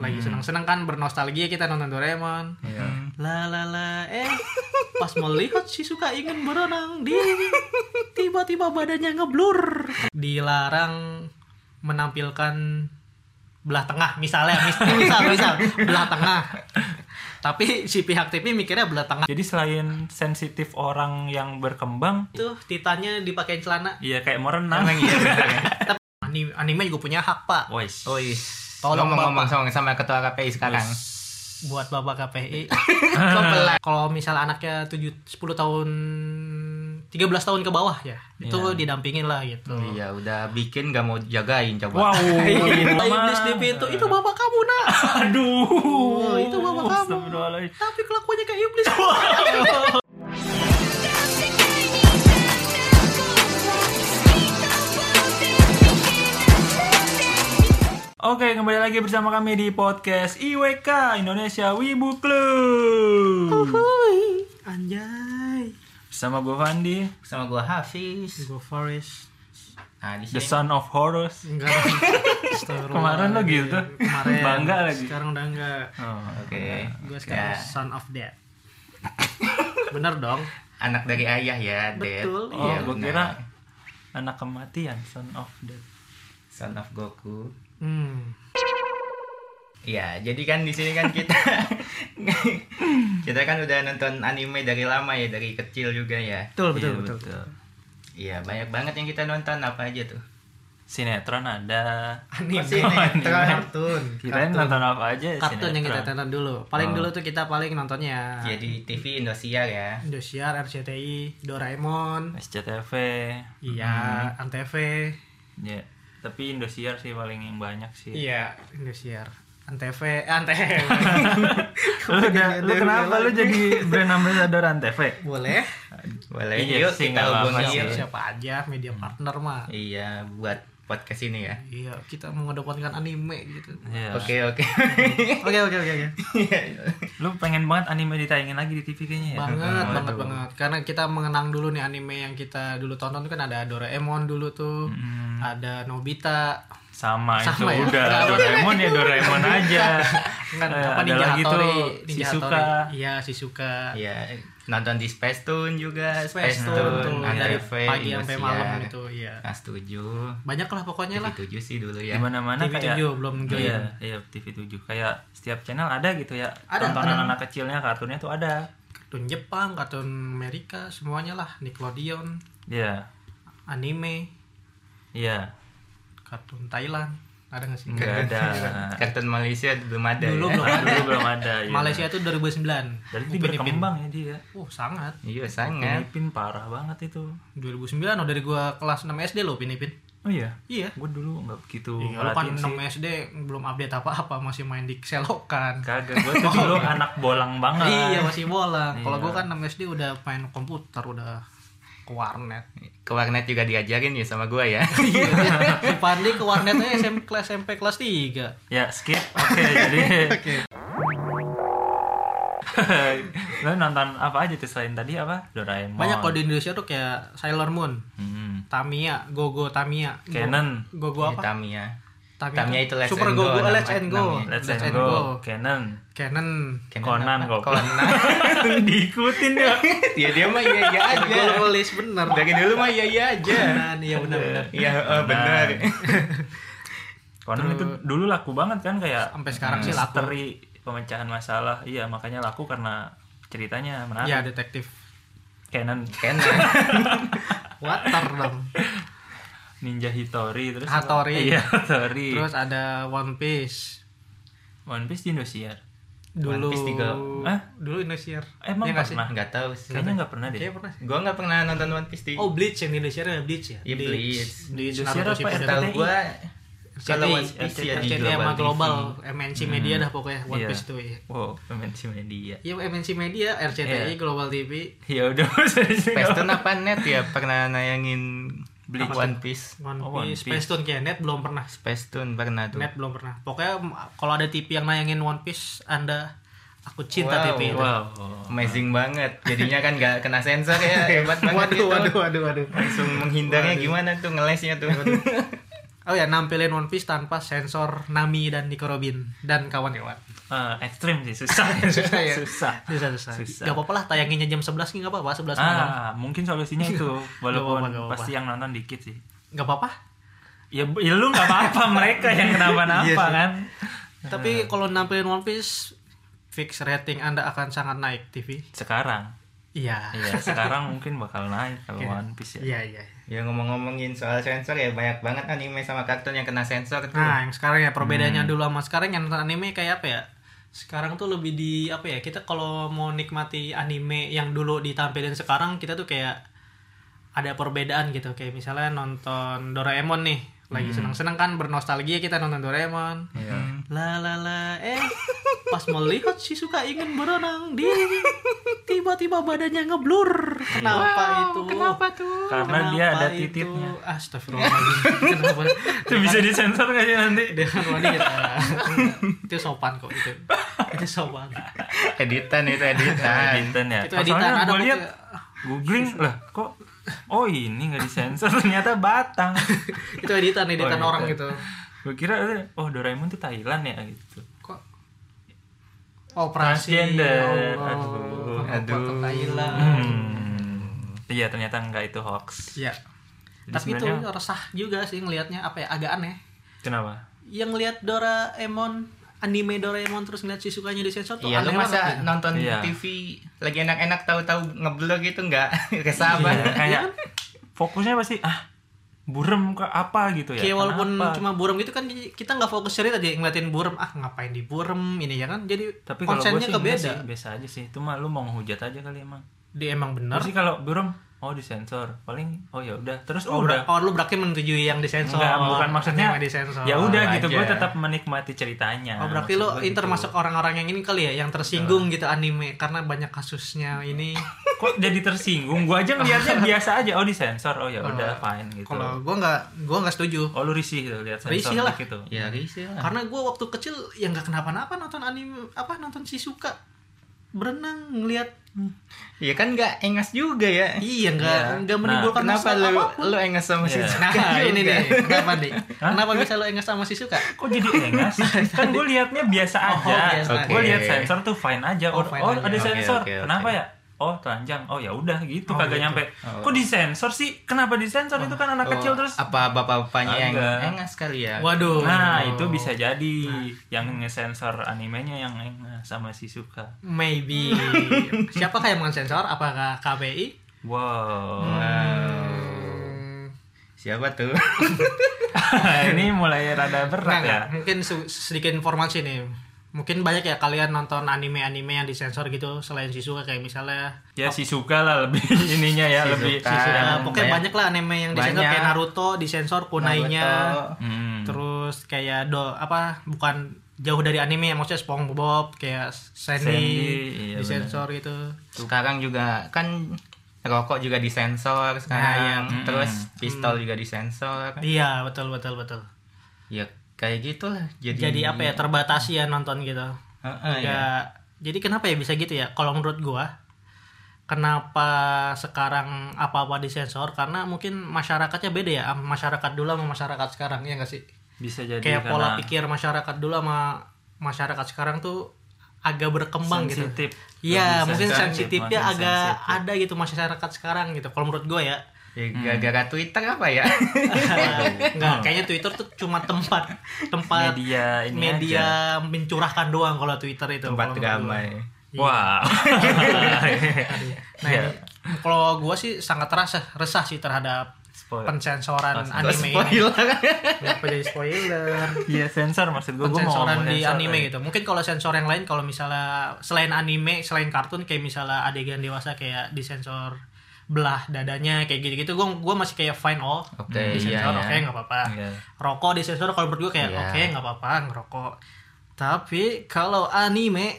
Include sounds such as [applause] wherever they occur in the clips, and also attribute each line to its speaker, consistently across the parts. Speaker 1: lagi seneng-seneng kan bernostalgia kita nonton Doraemon.
Speaker 2: Iya.
Speaker 1: La la la eh pas melihat si suka ingin berenang di tiba-tiba badannya ngeblur. Dilarang menampilkan belah tengah misalnya mis- [laughs] misal misal belah tengah. Tapi si pihak TV mikirnya belah tengah.
Speaker 2: Jadi selain sensitif orang yang berkembang,
Speaker 1: Tuh titannya dipakein celana.
Speaker 2: ya kayak mau renang.
Speaker 1: iya. Tapi ani- anime juga punya hak, Pak.
Speaker 2: Wes.
Speaker 3: Oh iya.
Speaker 1: Tolong,
Speaker 3: Tolong ngomong sama, sama ketua KPI sekarang.
Speaker 1: buat bapak
Speaker 2: [laughs]
Speaker 1: KPI kalau misal anaknya 7 10 tahun 13 tahun ke bawah ya itu
Speaker 3: Iya.
Speaker 1: didampingin lah gitu
Speaker 3: Iya, udah bikin gak mau jagain coba.
Speaker 1: [laughs]
Speaker 2: Wow.
Speaker 1: Kata Iya.
Speaker 2: Mama.
Speaker 1: iblis di pintu itu
Speaker 2: Iya.
Speaker 1: bapak kamu nak
Speaker 2: Aduh.
Speaker 1: Oh, itu bapak kamu.
Speaker 2: Astagfirullahaladzim.
Speaker 1: tapi kelakuannya kayak
Speaker 2: [laughs]
Speaker 1: iblis
Speaker 2: Oke, kembali lagi bersama kami di podcast IWK Indonesia Wibu
Speaker 1: Uhuh.
Speaker 2: Club.
Speaker 1: Hui, anjay
Speaker 2: Bersama gue Fandi,
Speaker 3: Sama gua Hafiz.
Speaker 1: go forest
Speaker 3: Nah, di
Speaker 2: The
Speaker 3: sini
Speaker 2: Son of Horus.
Speaker 1: enggak Astagfirullah.
Speaker 2: [laughs] Kemarin lo gitu.
Speaker 1: kemarin
Speaker 2: Bangga lagi.
Speaker 1: sekarang udah enggak
Speaker 2: Oh,
Speaker 3: Oke.
Speaker 1: gue
Speaker 3: Ya,
Speaker 1: sekarang son of death bener
Speaker 2: [laughs]
Speaker 1: dong
Speaker 3: anak dari ayah ya, Dad.
Speaker 1: Betul.
Speaker 2: oh
Speaker 3: Iya,
Speaker 2: gue
Speaker 3: benar.
Speaker 2: kira anak kematian, Son of Death.
Speaker 3: Son of Goku.
Speaker 1: hmm.
Speaker 3: Ya, jadi kan di sini kan
Speaker 2: [laughs]
Speaker 3: kita kita kan udah nonton anime dari lama ya, dari kecil juga ya.
Speaker 1: betul betul
Speaker 2: Iya,
Speaker 1: betul,
Speaker 3: Iya, banyak banget yang kita nonton apa aja tuh.
Speaker 2: Sinetron ada.
Speaker 1: Anime.
Speaker 3: Masih nih, kartun.
Speaker 2: Kirain nonton apa aja ya,
Speaker 1: kartun yang kita
Speaker 2: sinetron.
Speaker 1: tonton dulu. Paling
Speaker 2: Oh.
Speaker 1: dulu tuh kita paling
Speaker 2: Ah.
Speaker 1: nontonnya
Speaker 3: Jadi TV Indosiar ya.
Speaker 1: Indosiar, RCTI, Doraemon,
Speaker 2: SCTV.
Speaker 1: iya, Antv,
Speaker 2: Ya, tapi Indosiar sih paling yang banyak sih.
Speaker 1: iya, Indosiar, Antv, eh,
Speaker 3: [laughs]
Speaker 1: Antv.
Speaker 2: [laughs] Lu, udah-
Speaker 1: Iya,
Speaker 2: lu kenapa lu jadi brand ambassador Antv?
Speaker 1: Boleh.
Speaker 3: Boleh
Speaker 2: Iya
Speaker 3: yuk
Speaker 2: sih, nggak
Speaker 3: kita
Speaker 2: apa-apa
Speaker 3: hubungi
Speaker 2: sih.
Speaker 3: yuk.
Speaker 1: Siapa, siapa aja media partner mah.
Speaker 3: Iya, buat podcast ini ya.
Speaker 1: Iya, kita mengedepankan anime gitu.
Speaker 2: Iya.
Speaker 3: Oke,
Speaker 2: [laughs]
Speaker 3: oke.
Speaker 1: [laughs] Oke, oke, oke, oke.
Speaker 2: Lu pengen banget anime ditayangin lagi di TV kayaknya ya?
Speaker 1: Banget,
Speaker 2: Oh,
Speaker 1: Iya, banget,
Speaker 2: aduh.
Speaker 1: banget. Karena kita mengenang dulu nih anime yang kita dulu tonton kan ada Doraemon dulu tuh.
Speaker 2: Mm,
Speaker 1: Ada Nobita,
Speaker 2: sama, itu
Speaker 1: Sama ya?
Speaker 2: udah
Speaker 1: Kenapa?
Speaker 2: Doraemon
Speaker 1: [laughs]
Speaker 2: ya Doraemon aja.
Speaker 1: kan
Speaker 2: Eh,
Speaker 1: apa
Speaker 2: ada
Speaker 1: Ninja
Speaker 2: lagi
Speaker 1: Hattori,
Speaker 2: tuh,
Speaker 1: Ninja
Speaker 2: Shizuka.
Speaker 1: Hattori. Iya, Shizuka.
Speaker 3: Iya, nonton di Space Tune juga, Space
Speaker 1: Space
Speaker 3: Tune,
Speaker 1: tuh dari
Speaker 3: Antv,
Speaker 1: pagi sampai malam
Speaker 3: Indosiar.
Speaker 1: gitu, iya.
Speaker 3: Kelas 7,
Speaker 1: Banyak lah pokoknya
Speaker 3: TV
Speaker 1: lah.
Speaker 3: 7 sih dulu ya.
Speaker 2: Di mana-mana
Speaker 1: TV
Speaker 2: kayak
Speaker 1: 7 belum
Speaker 2: Iya,
Speaker 1: join.
Speaker 2: iya TV 7 kayak setiap channel ada gitu ya.
Speaker 1: Ada,
Speaker 2: tontonan
Speaker 1: ada.
Speaker 2: anak kecilnya, kartunnya tuh ada.
Speaker 1: Kartun Jepang, kartun Amerika, semuanya lah, Nickelodeon,
Speaker 2: Iya.
Speaker 1: anime,
Speaker 2: Iya.
Speaker 1: kartun Thailand. Ada nggak sih? [laughs]
Speaker 2: Enggak ada.
Speaker 1: Iya.
Speaker 3: Kartun Malaysia belum ada
Speaker 1: Dulu
Speaker 3: ya.
Speaker 1: belum ada.
Speaker 2: Dulu belum ada. iya.
Speaker 1: Malaysia itu 2009.
Speaker 2: Dari itu
Speaker 1: Upin Ipin.
Speaker 2: berkembang ya dia.
Speaker 1: Oh, sangat.
Speaker 3: Iya,
Speaker 1: Kan?
Speaker 2: Upin
Speaker 3: sangat.
Speaker 2: Ipin parah banget itu.
Speaker 1: 2009 oh dari gua kelas 6 SD loh Upin Ipin.
Speaker 2: Oh iya.
Speaker 1: Iya.
Speaker 2: Gue dulu nggak begitu
Speaker 1: Iya, lu kan
Speaker 2: merhatiin
Speaker 1: 6
Speaker 2: sih.
Speaker 1: SD belum update apa-apa, masih main di kan. selokan.
Speaker 2: Kagak, gue
Speaker 1: [laughs]
Speaker 2: tuh dulu anak bolang
Speaker 1: Oh,
Speaker 2: banget.
Speaker 1: Iya, masih bola. Kalau
Speaker 2: Iya.
Speaker 1: gua kan 6 SD udah main komputer, udah ke warnet.
Speaker 3: Ke warnet juga diajarin ya sama gua
Speaker 1: [laughs]
Speaker 3: ya.
Speaker 1: si Pandi ke warnetnya SMP kelas SMP kelas 3
Speaker 2: Ya skip. Oke, jadi.
Speaker 1: [laughs]
Speaker 2: [laughs]
Speaker 1: Oke.
Speaker 2: Lo nonton apa aja tuh selain tadi apa? Doraemon.
Speaker 1: banyak kalau di Indonesia tuh kayak Sailor Moon
Speaker 2: Hmm.
Speaker 1: Tamiya Gogo Tamiya Go-
Speaker 2: Canon.
Speaker 1: Gogo
Speaker 3: Ini
Speaker 1: apa
Speaker 3: Tamiya.
Speaker 1: Tamiya,
Speaker 3: Iya, Tamiya itu Let's
Speaker 1: Super
Speaker 3: and Go
Speaker 1: Gogo
Speaker 3: nama-
Speaker 1: Let's and Go
Speaker 3: namanya.
Speaker 2: Let's, and go. Canon.
Speaker 1: Canon
Speaker 2: Conan kok. [laughs]
Speaker 3: Conan.
Speaker 2: Diikutin ya.
Speaker 3: [laughs] ya dia mah iya iya aja.
Speaker 1: gue nulis bener
Speaker 3: Dari dulu mah iya iya
Speaker 1: [laughs]
Speaker 3: aja.
Speaker 1: Canon iya benar-benar
Speaker 3: Iya, oh, benar.
Speaker 2: Conan itu dulu laku banget kan kayak
Speaker 1: sampai sekarang sih laku
Speaker 2: misteri pemecahan masalah. Iya, makanya laku karena ceritanya menarik.
Speaker 1: ya detektif
Speaker 2: Canon
Speaker 3: Kenan.
Speaker 1: Water dong
Speaker 2: Ninja Hitori terus
Speaker 1: Hattori.
Speaker 2: Iya, Hattori.
Speaker 1: terus ada One Piece
Speaker 2: One Piece di Indosiar.
Speaker 1: dulu
Speaker 3: One Piece tiga.
Speaker 2: Hah?
Speaker 1: dulu Indonesia
Speaker 2: Emang
Speaker 1: Iya nggak sih?
Speaker 2: pernah?
Speaker 3: Enggak tahu sih.
Speaker 2: Kayaknya nggak pernah deh.
Speaker 1: Kayaknya pernah sih.
Speaker 3: Gua nggak pernah nonton One Piece di.
Speaker 1: Oh Bleach yang di Indonesia ada Bleach ya?
Speaker 3: Iya, Bleach.
Speaker 1: Bleach.
Speaker 2: Indonesia
Speaker 1: Naruto
Speaker 2: apa
Speaker 1: Shippuden.
Speaker 2: RTTI?
Speaker 3: Tahu gua kalau
Speaker 1: RCTI,
Speaker 3: One Piece Hmm. ya di
Speaker 1: RCTI
Speaker 3: global.
Speaker 1: sama global,
Speaker 3: TV.
Speaker 1: MNC Media dah pokoknya One
Speaker 2: Iya.
Speaker 1: Piece tuh ya.
Speaker 2: Wow, pemensi media.
Speaker 1: Iya MNC Media, RCTI,
Speaker 2: Iya.
Speaker 1: Global TV,
Speaker 2: Ya udah [laughs] serius.
Speaker 3: Pestun apa net ya pernah nayangin beli
Speaker 2: Apa
Speaker 3: One Piece.
Speaker 1: One
Speaker 2: Oh, One
Speaker 1: Piece, Space
Speaker 2: Piece.
Speaker 1: Tune kayak Net belum pernah.
Speaker 3: Pestun pernah tuh.
Speaker 1: Net belum pernah. Pokoknya m- kalau ada TV yang nayangin One Piece, Anda aku cinta
Speaker 3: Wow.
Speaker 1: TV itu.
Speaker 2: Wow.
Speaker 3: Amazing banget. Jadinya kan nggak kena sensor
Speaker 1: [laughs]
Speaker 3: ya hebat banget gitu.
Speaker 1: waduh.
Speaker 3: Langsung menghindarnya gimana tuh ngelesnya tuh.
Speaker 1: Oh ya, nampilin One Piece tanpa sensor Nami dan Nico Robin dan kawan-kawan.
Speaker 2: Eh, ekstrim sih susah
Speaker 1: [laughs] Susah ya?
Speaker 2: susah
Speaker 1: Susah, susah.
Speaker 2: Susah.
Speaker 1: Gak apa-apa lah, tayanginnya jam 11 nih, gak apa-apa, 11 malam.
Speaker 2: ah mungkin solusinya
Speaker 1: [laughs]
Speaker 2: itu
Speaker 1: Gak
Speaker 2: walaupun
Speaker 1: apa-apa, gak apa-apa.
Speaker 2: pasti yang nonton dikit sih
Speaker 1: Gak apa-apa.
Speaker 2: ya, ya lu nggak apa-apa [laughs] mereka yang
Speaker 3: Iya
Speaker 2: kenapa-napa
Speaker 3: sih.
Speaker 2: kan
Speaker 1: Tapi kalau nampilin One Piece, fix rating Anda akan sangat naik TV.
Speaker 2: sekarang
Speaker 1: Iya.
Speaker 2: iya sekarang mungkin bakal naik kalau One Piece ya
Speaker 1: Iya, iya.
Speaker 3: Ya ngomong-ngomongin soal sensor ya banyak banget anime sama kartun yang kena sensor tuh.
Speaker 1: Nah, yang sekarang ya perbedaannya
Speaker 2: Hmm.
Speaker 1: dulu sama sekarang yang nonton anime kayak apa ya? Sekarang tuh lebih di apa ya? Kita kalau mau nikmati anime yang dulu ditampilin sekarang kita tuh kayak ada perbedaan gitu. Kayak misalnya nonton Doraemon nih, lagi
Speaker 2: Hmm.
Speaker 1: seneng-seneng kan bernostalgia kita nonton Doraemon.
Speaker 2: Iya.
Speaker 1: La la la eh pas melihat si suka ingin berenang di tiba-tiba badannya ngeblur. Kenapa itu? Kenapa tuh?
Speaker 2: Karena dia ada tititnya.
Speaker 1: Astagfirullahaladzim.
Speaker 2: [laughs]
Speaker 1: Kenapa?
Speaker 2: itu bisa disensor nggak sih nanti
Speaker 1: dengan wanita eh, itu sopan kok itu itu sopan
Speaker 3: Editan itu editan.
Speaker 1: [laughs]
Speaker 2: editan ya
Speaker 1: itu
Speaker 2: Oh,
Speaker 1: editan
Speaker 2: soalnya
Speaker 1: ada
Speaker 2: gue
Speaker 1: bukti-
Speaker 2: lihat
Speaker 1: [laughs]
Speaker 2: googling lah kok oh ini nggak disensor [laughs] ternyata batang
Speaker 1: itu editan editan
Speaker 2: Oh,
Speaker 1: orang gitu
Speaker 2: editan. gue kira eh, oh Doraemon tuh Thailand ya gitu
Speaker 1: kok operasi
Speaker 2: Transgender.
Speaker 1: ya Allah.
Speaker 2: Aduh,
Speaker 1: Kenapa
Speaker 3: aduh.
Speaker 1: ke Thailand
Speaker 2: Hmm. iya ternyata nggak itu hoax
Speaker 1: ya
Speaker 2: Jadi
Speaker 1: tapi itu
Speaker 2: sebenarnya-
Speaker 1: resah juga sih ngelihatnya apa ya agak aneh
Speaker 2: kenapa
Speaker 1: yang lihat Doraemon anime Doraemon terus ngeliat sisukanya disensor tuh
Speaker 3: Iya,
Speaker 1: aneh
Speaker 3: lu masa
Speaker 1: banget gitu.
Speaker 3: nonton
Speaker 2: Iya.
Speaker 3: TV lagi enak-enak tahu-tahu ngeblur gitu enggak? [laughs] Kesah
Speaker 2: Iya,
Speaker 3: banget.
Speaker 2: kayak
Speaker 1: kan?
Speaker 2: fokusnya pasti ah burem ke apa gitu ya
Speaker 1: Kayak walaupun
Speaker 2: Kenapa?
Speaker 1: cuma burem gitu kan kita nggak fokus cerita aja ngeliatin burem ah ngapain di burem ini ya kan jadi
Speaker 2: tapi kalau gue
Speaker 1: konsennya
Speaker 2: sih enggak sih
Speaker 1: kebeda
Speaker 2: biasa aja sih itu mah lu mau ngehujat aja kali emang
Speaker 1: dia emang bener
Speaker 2: Terus sih kalau burem oh disensor paling oh ya udah terus
Speaker 1: Oh,
Speaker 2: oh udah
Speaker 1: ber- oh, lu berarti menyetujui yang disensor.
Speaker 2: Enggak, bukan maksudnya
Speaker 1: Yang disensor.
Speaker 2: ya udah
Speaker 3: Aja.
Speaker 2: gitu gue tetap menikmati ceritanya
Speaker 1: Oh, berarti
Speaker 2: Maksud
Speaker 1: lu
Speaker 2: gua
Speaker 1: ini
Speaker 2: gitu. Iya.
Speaker 1: termasuk orang-orang yang ini kali ya yang tersinggung gitu anime karena banyak kasusnya ini.
Speaker 2: kok jadi tersinggung gue aja
Speaker 1: [laughs]
Speaker 2: ngeliatnya biasa aja oh disensor oh ya udah fine gitu
Speaker 1: Kalau gua nggak gua nggak setuju.
Speaker 2: oh lu risih tuh lihat sensor
Speaker 1: Risih lah.
Speaker 2: gitu
Speaker 3: Ya risih lah.
Speaker 1: Karena gua waktu kecil yang nggak kenapa-napa nonton anime apa nonton Shizuka berenang ngelihat
Speaker 3: Iya kan nggak engas juga ya.
Speaker 1: iya nggak nggak
Speaker 2: Iya. Nah,
Speaker 1: menimbulkan
Speaker 3: Kenapa
Speaker 1: masalah
Speaker 3: lu
Speaker 1: apapun.
Speaker 3: lu engas sama si
Speaker 2: Iya.
Speaker 1: [laughs] Nah, ini
Speaker 3: Suka juga?
Speaker 1: nih. Kenapa [laughs] nih? Kenapa bisa lu ingat sama Shizuka?
Speaker 2: kok jadi
Speaker 1: [laughs]
Speaker 2: engas kan gue liatnya biasa aja
Speaker 1: Oh, biasa
Speaker 2: gue
Speaker 3: aja.
Speaker 2: lihat sensor tuh fine aja
Speaker 1: Oh,
Speaker 2: oh,
Speaker 1: fine
Speaker 2: oh,
Speaker 1: aja.
Speaker 2: ada
Speaker 3: Oke,
Speaker 2: sensor
Speaker 3: oke, oke.
Speaker 2: kenapa ya oh telanjang oh ya udah gitu
Speaker 1: Oh,
Speaker 2: kagak
Speaker 1: gitu.
Speaker 2: nyampe
Speaker 3: Oh.
Speaker 2: kok disensor sih kenapa disensor itu kan anak
Speaker 3: Oh,
Speaker 2: kecil terus
Speaker 3: apa bapak-bapaknya yang
Speaker 2: Enggak.
Speaker 3: engas kali ya?
Speaker 1: Waduh.
Speaker 2: Nah, itu bisa jadi
Speaker 1: Nah.
Speaker 2: yang ngesensor animenya yang engas sama
Speaker 1: Nah.
Speaker 2: si Suka.
Speaker 1: Maybe. Siapakah yang mensensor? Apakah KPI?
Speaker 2: Wow. [laughs]
Speaker 1: Hmm.
Speaker 3: Siapa tuh?
Speaker 2: Ini mulai rada berat
Speaker 1: Nah,
Speaker 2: ya.
Speaker 1: mungkin su- sedikit informasi nih. Mungkin banyak ya kalian nonton anime-anime yang disensor gitu selain Shizuka kayak misalnya
Speaker 2: Ya si Suka lah lebih [laughs] ininya ya,
Speaker 3: Si
Speaker 2: lebih
Speaker 3: Suka.
Speaker 2: yang
Speaker 1: Nah, pokoknya banyak lah anime yang disensor
Speaker 3: Banyak.
Speaker 1: kayak Naruto disensor
Speaker 3: [laughs]
Speaker 1: kunainya
Speaker 3: Naruto.
Speaker 2: Hmm.
Speaker 1: terus kayak do apa bukan jauh dari anime ya maksudnya SpongeBob kayak Sandy,
Speaker 2: Sandy, iya
Speaker 1: disensor gitu.
Speaker 3: Sekarang juga kan rokok juga disensor sekarang
Speaker 1: Nah,
Speaker 3: yang terus pistol juga disensor.
Speaker 1: Iya, betul betul betul.
Speaker 3: Ya kayak gitulah. Jadi
Speaker 1: Jadi apa ya terbatasi ya nonton gitu.
Speaker 3: Heeh, ya.
Speaker 1: ya jadi kenapa ya bisa gitu ya kalau menurut gua kenapa sekarang apa-apa disensor karena mungkin masyarakatnya beda ya am- masyarakat dulu sama masyarakat sekarang ya nggak sih
Speaker 2: bisa jadi
Speaker 1: kayak
Speaker 2: karena
Speaker 1: pola pikir masyarakat dulu sama masyarakat sekarang tuh agak berkembang gitu
Speaker 2: sensitif.
Speaker 1: Iya,
Speaker 2: Lebih
Speaker 1: mungkin
Speaker 2: sensitif,
Speaker 1: sensitifnya
Speaker 2: makin
Speaker 1: agak
Speaker 2: sensitif.
Speaker 1: ada gitu masyarakat sekarang gitu. Kalau menurut
Speaker 2: [laughs]
Speaker 1: gua ya, eh,
Speaker 3: Ya, gara-gara Twitter apa
Speaker 1: [laughs]
Speaker 3: ya?
Speaker 1: nggak kayaknya Twitter tuh cuma tempat tempat media,
Speaker 2: Hmm. media ini aja.
Speaker 1: mencurahkan doang kalau Twitter itu. kalau
Speaker 3: Tempat
Speaker 1: menurut gua.
Speaker 3: ramai.
Speaker 1: [laughs]
Speaker 2: Wah.
Speaker 1: Nah,
Speaker 2: Ya.
Speaker 1: ini kalau gue sih sangat resah, resah sih terhadap
Speaker 2: Spoil.
Speaker 1: pensensoran
Speaker 2: Pas-
Speaker 1: anime ini.
Speaker 3: Spoiler.
Speaker 1: Kenapa jadi spoiler?
Speaker 2: Iya sensor maksud gue. Gue mau
Speaker 1: Pensensoran
Speaker 2: ngomong
Speaker 1: di
Speaker 2: sensor
Speaker 1: anime
Speaker 3: ya.
Speaker 2: tadi.
Speaker 1: gitu. Mungkin kalau sensor yang lain, kalau misalnya selain anime, selain kartun, kayak misalnya adegan dewasa kayak disensor belah dadanya kayak gitu-gitu, gue gua masih kayak fine oh,
Speaker 3: Oke, iya
Speaker 1: disensor
Speaker 3: ya.
Speaker 1: oke nggak apa-apa.
Speaker 2: Iya.
Speaker 1: Rokok disensor kalau menurut gue kayak
Speaker 3: Iya.
Speaker 1: oke nggak apa-apa ngerokok. Tapi kalau anime,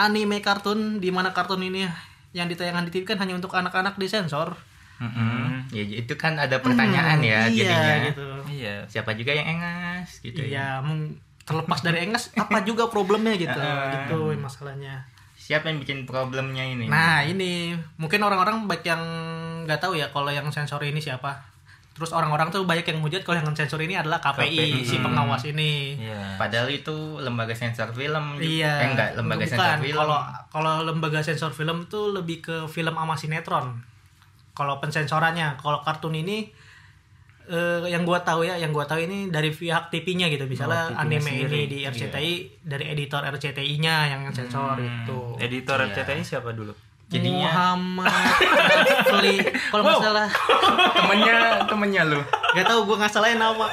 Speaker 1: anime kartun di mana kartun ini yang ditayangkan di TV kan hanya untuk anak-anak disensor.
Speaker 3: Mm-mm. Ya itu kan ada pertanyaan
Speaker 1: iya,
Speaker 3: ya jadinya.
Speaker 1: gitu.
Speaker 2: Iya.
Speaker 3: Siapa juga yang engas gitu ya.
Speaker 1: Iya, mung- terlepas dari engas apa juga problemnya gitu. gitu masalahnya.
Speaker 3: Siapa yang bikin problemnya ini?
Speaker 1: Nah, ini mungkin orang-orang baik yang nggak tahu ya kalau yang sensor ini siapa. Terus orang-orang tuh banyak yang mujat kalau yang sensor ini adalah KPI,
Speaker 3: KPI.
Speaker 1: si pengawas ini.
Speaker 2: Iya.
Speaker 3: Padahal itu lembaga sensor film. juga.
Speaker 1: Iya.
Speaker 3: Eh, enggak, lembaga
Speaker 1: Bukan.
Speaker 3: sensor film.
Speaker 1: Kalau kalau lembaga sensor film tuh lebih ke film sama sinetron. Kalau pensensorannya, kalau kartun ini eh, yang gua tahu ya, yang gua tahu ini dari pihak TV-nya gitu. Misalnya
Speaker 2: Oh, TV-nya
Speaker 1: anime
Speaker 2: sendiri.
Speaker 1: ini di
Speaker 3: Iya.
Speaker 1: RCTI dari editor RCTI-nya yang sensor gitu.
Speaker 2: Editor RCTI siapa dulu?
Speaker 3: Hmm. Eh, Jadinya-
Speaker 1: Muhammad Rafli. kalau nggak salah
Speaker 3: temennya, temennya lu.
Speaker 1: nggak tahu gua nggak salahin nama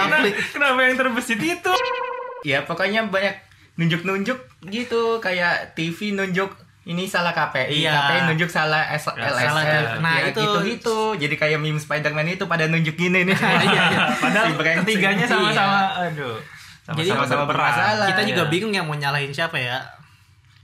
Speaker 1: Rafli
Speaker 2: Kenapa yang terbesit itu?
Speaker 3: [laughs] Ya pokoknya banyak nunjuk-nunjuk gitu kayak TV nunjuk ini salah KPI,
Speaker 1: Iya.
Speaker 3: KPI nunjuk salah S LSM.
Speaker 1: salah TV. Nah,
Speaker 3: Ya,
Speaker 1: itu-
Speaker 3: gitu-gitu. Jadi kayak meme Spider-Man itu pada nunjuk gini
Speaker 1: [laughs]
Speaker 3: nih.
Speaker 1: Iya, iya.
Speaker 2: Padahal
Speaker 3: Si brengsek.
Speaker 2: Nah, ketiganya sama-sama aduh.
Speaker 1: Jadi
Speaker 2: Sama-sama
Speaker 3: sama-sama
Speaker 2: berperan.
Speaker 3: bermasalah.
Speaker 1: kita juga
Speaker 2: Iya.
Speaker 1: bingung yang mau nyalahin siapa ya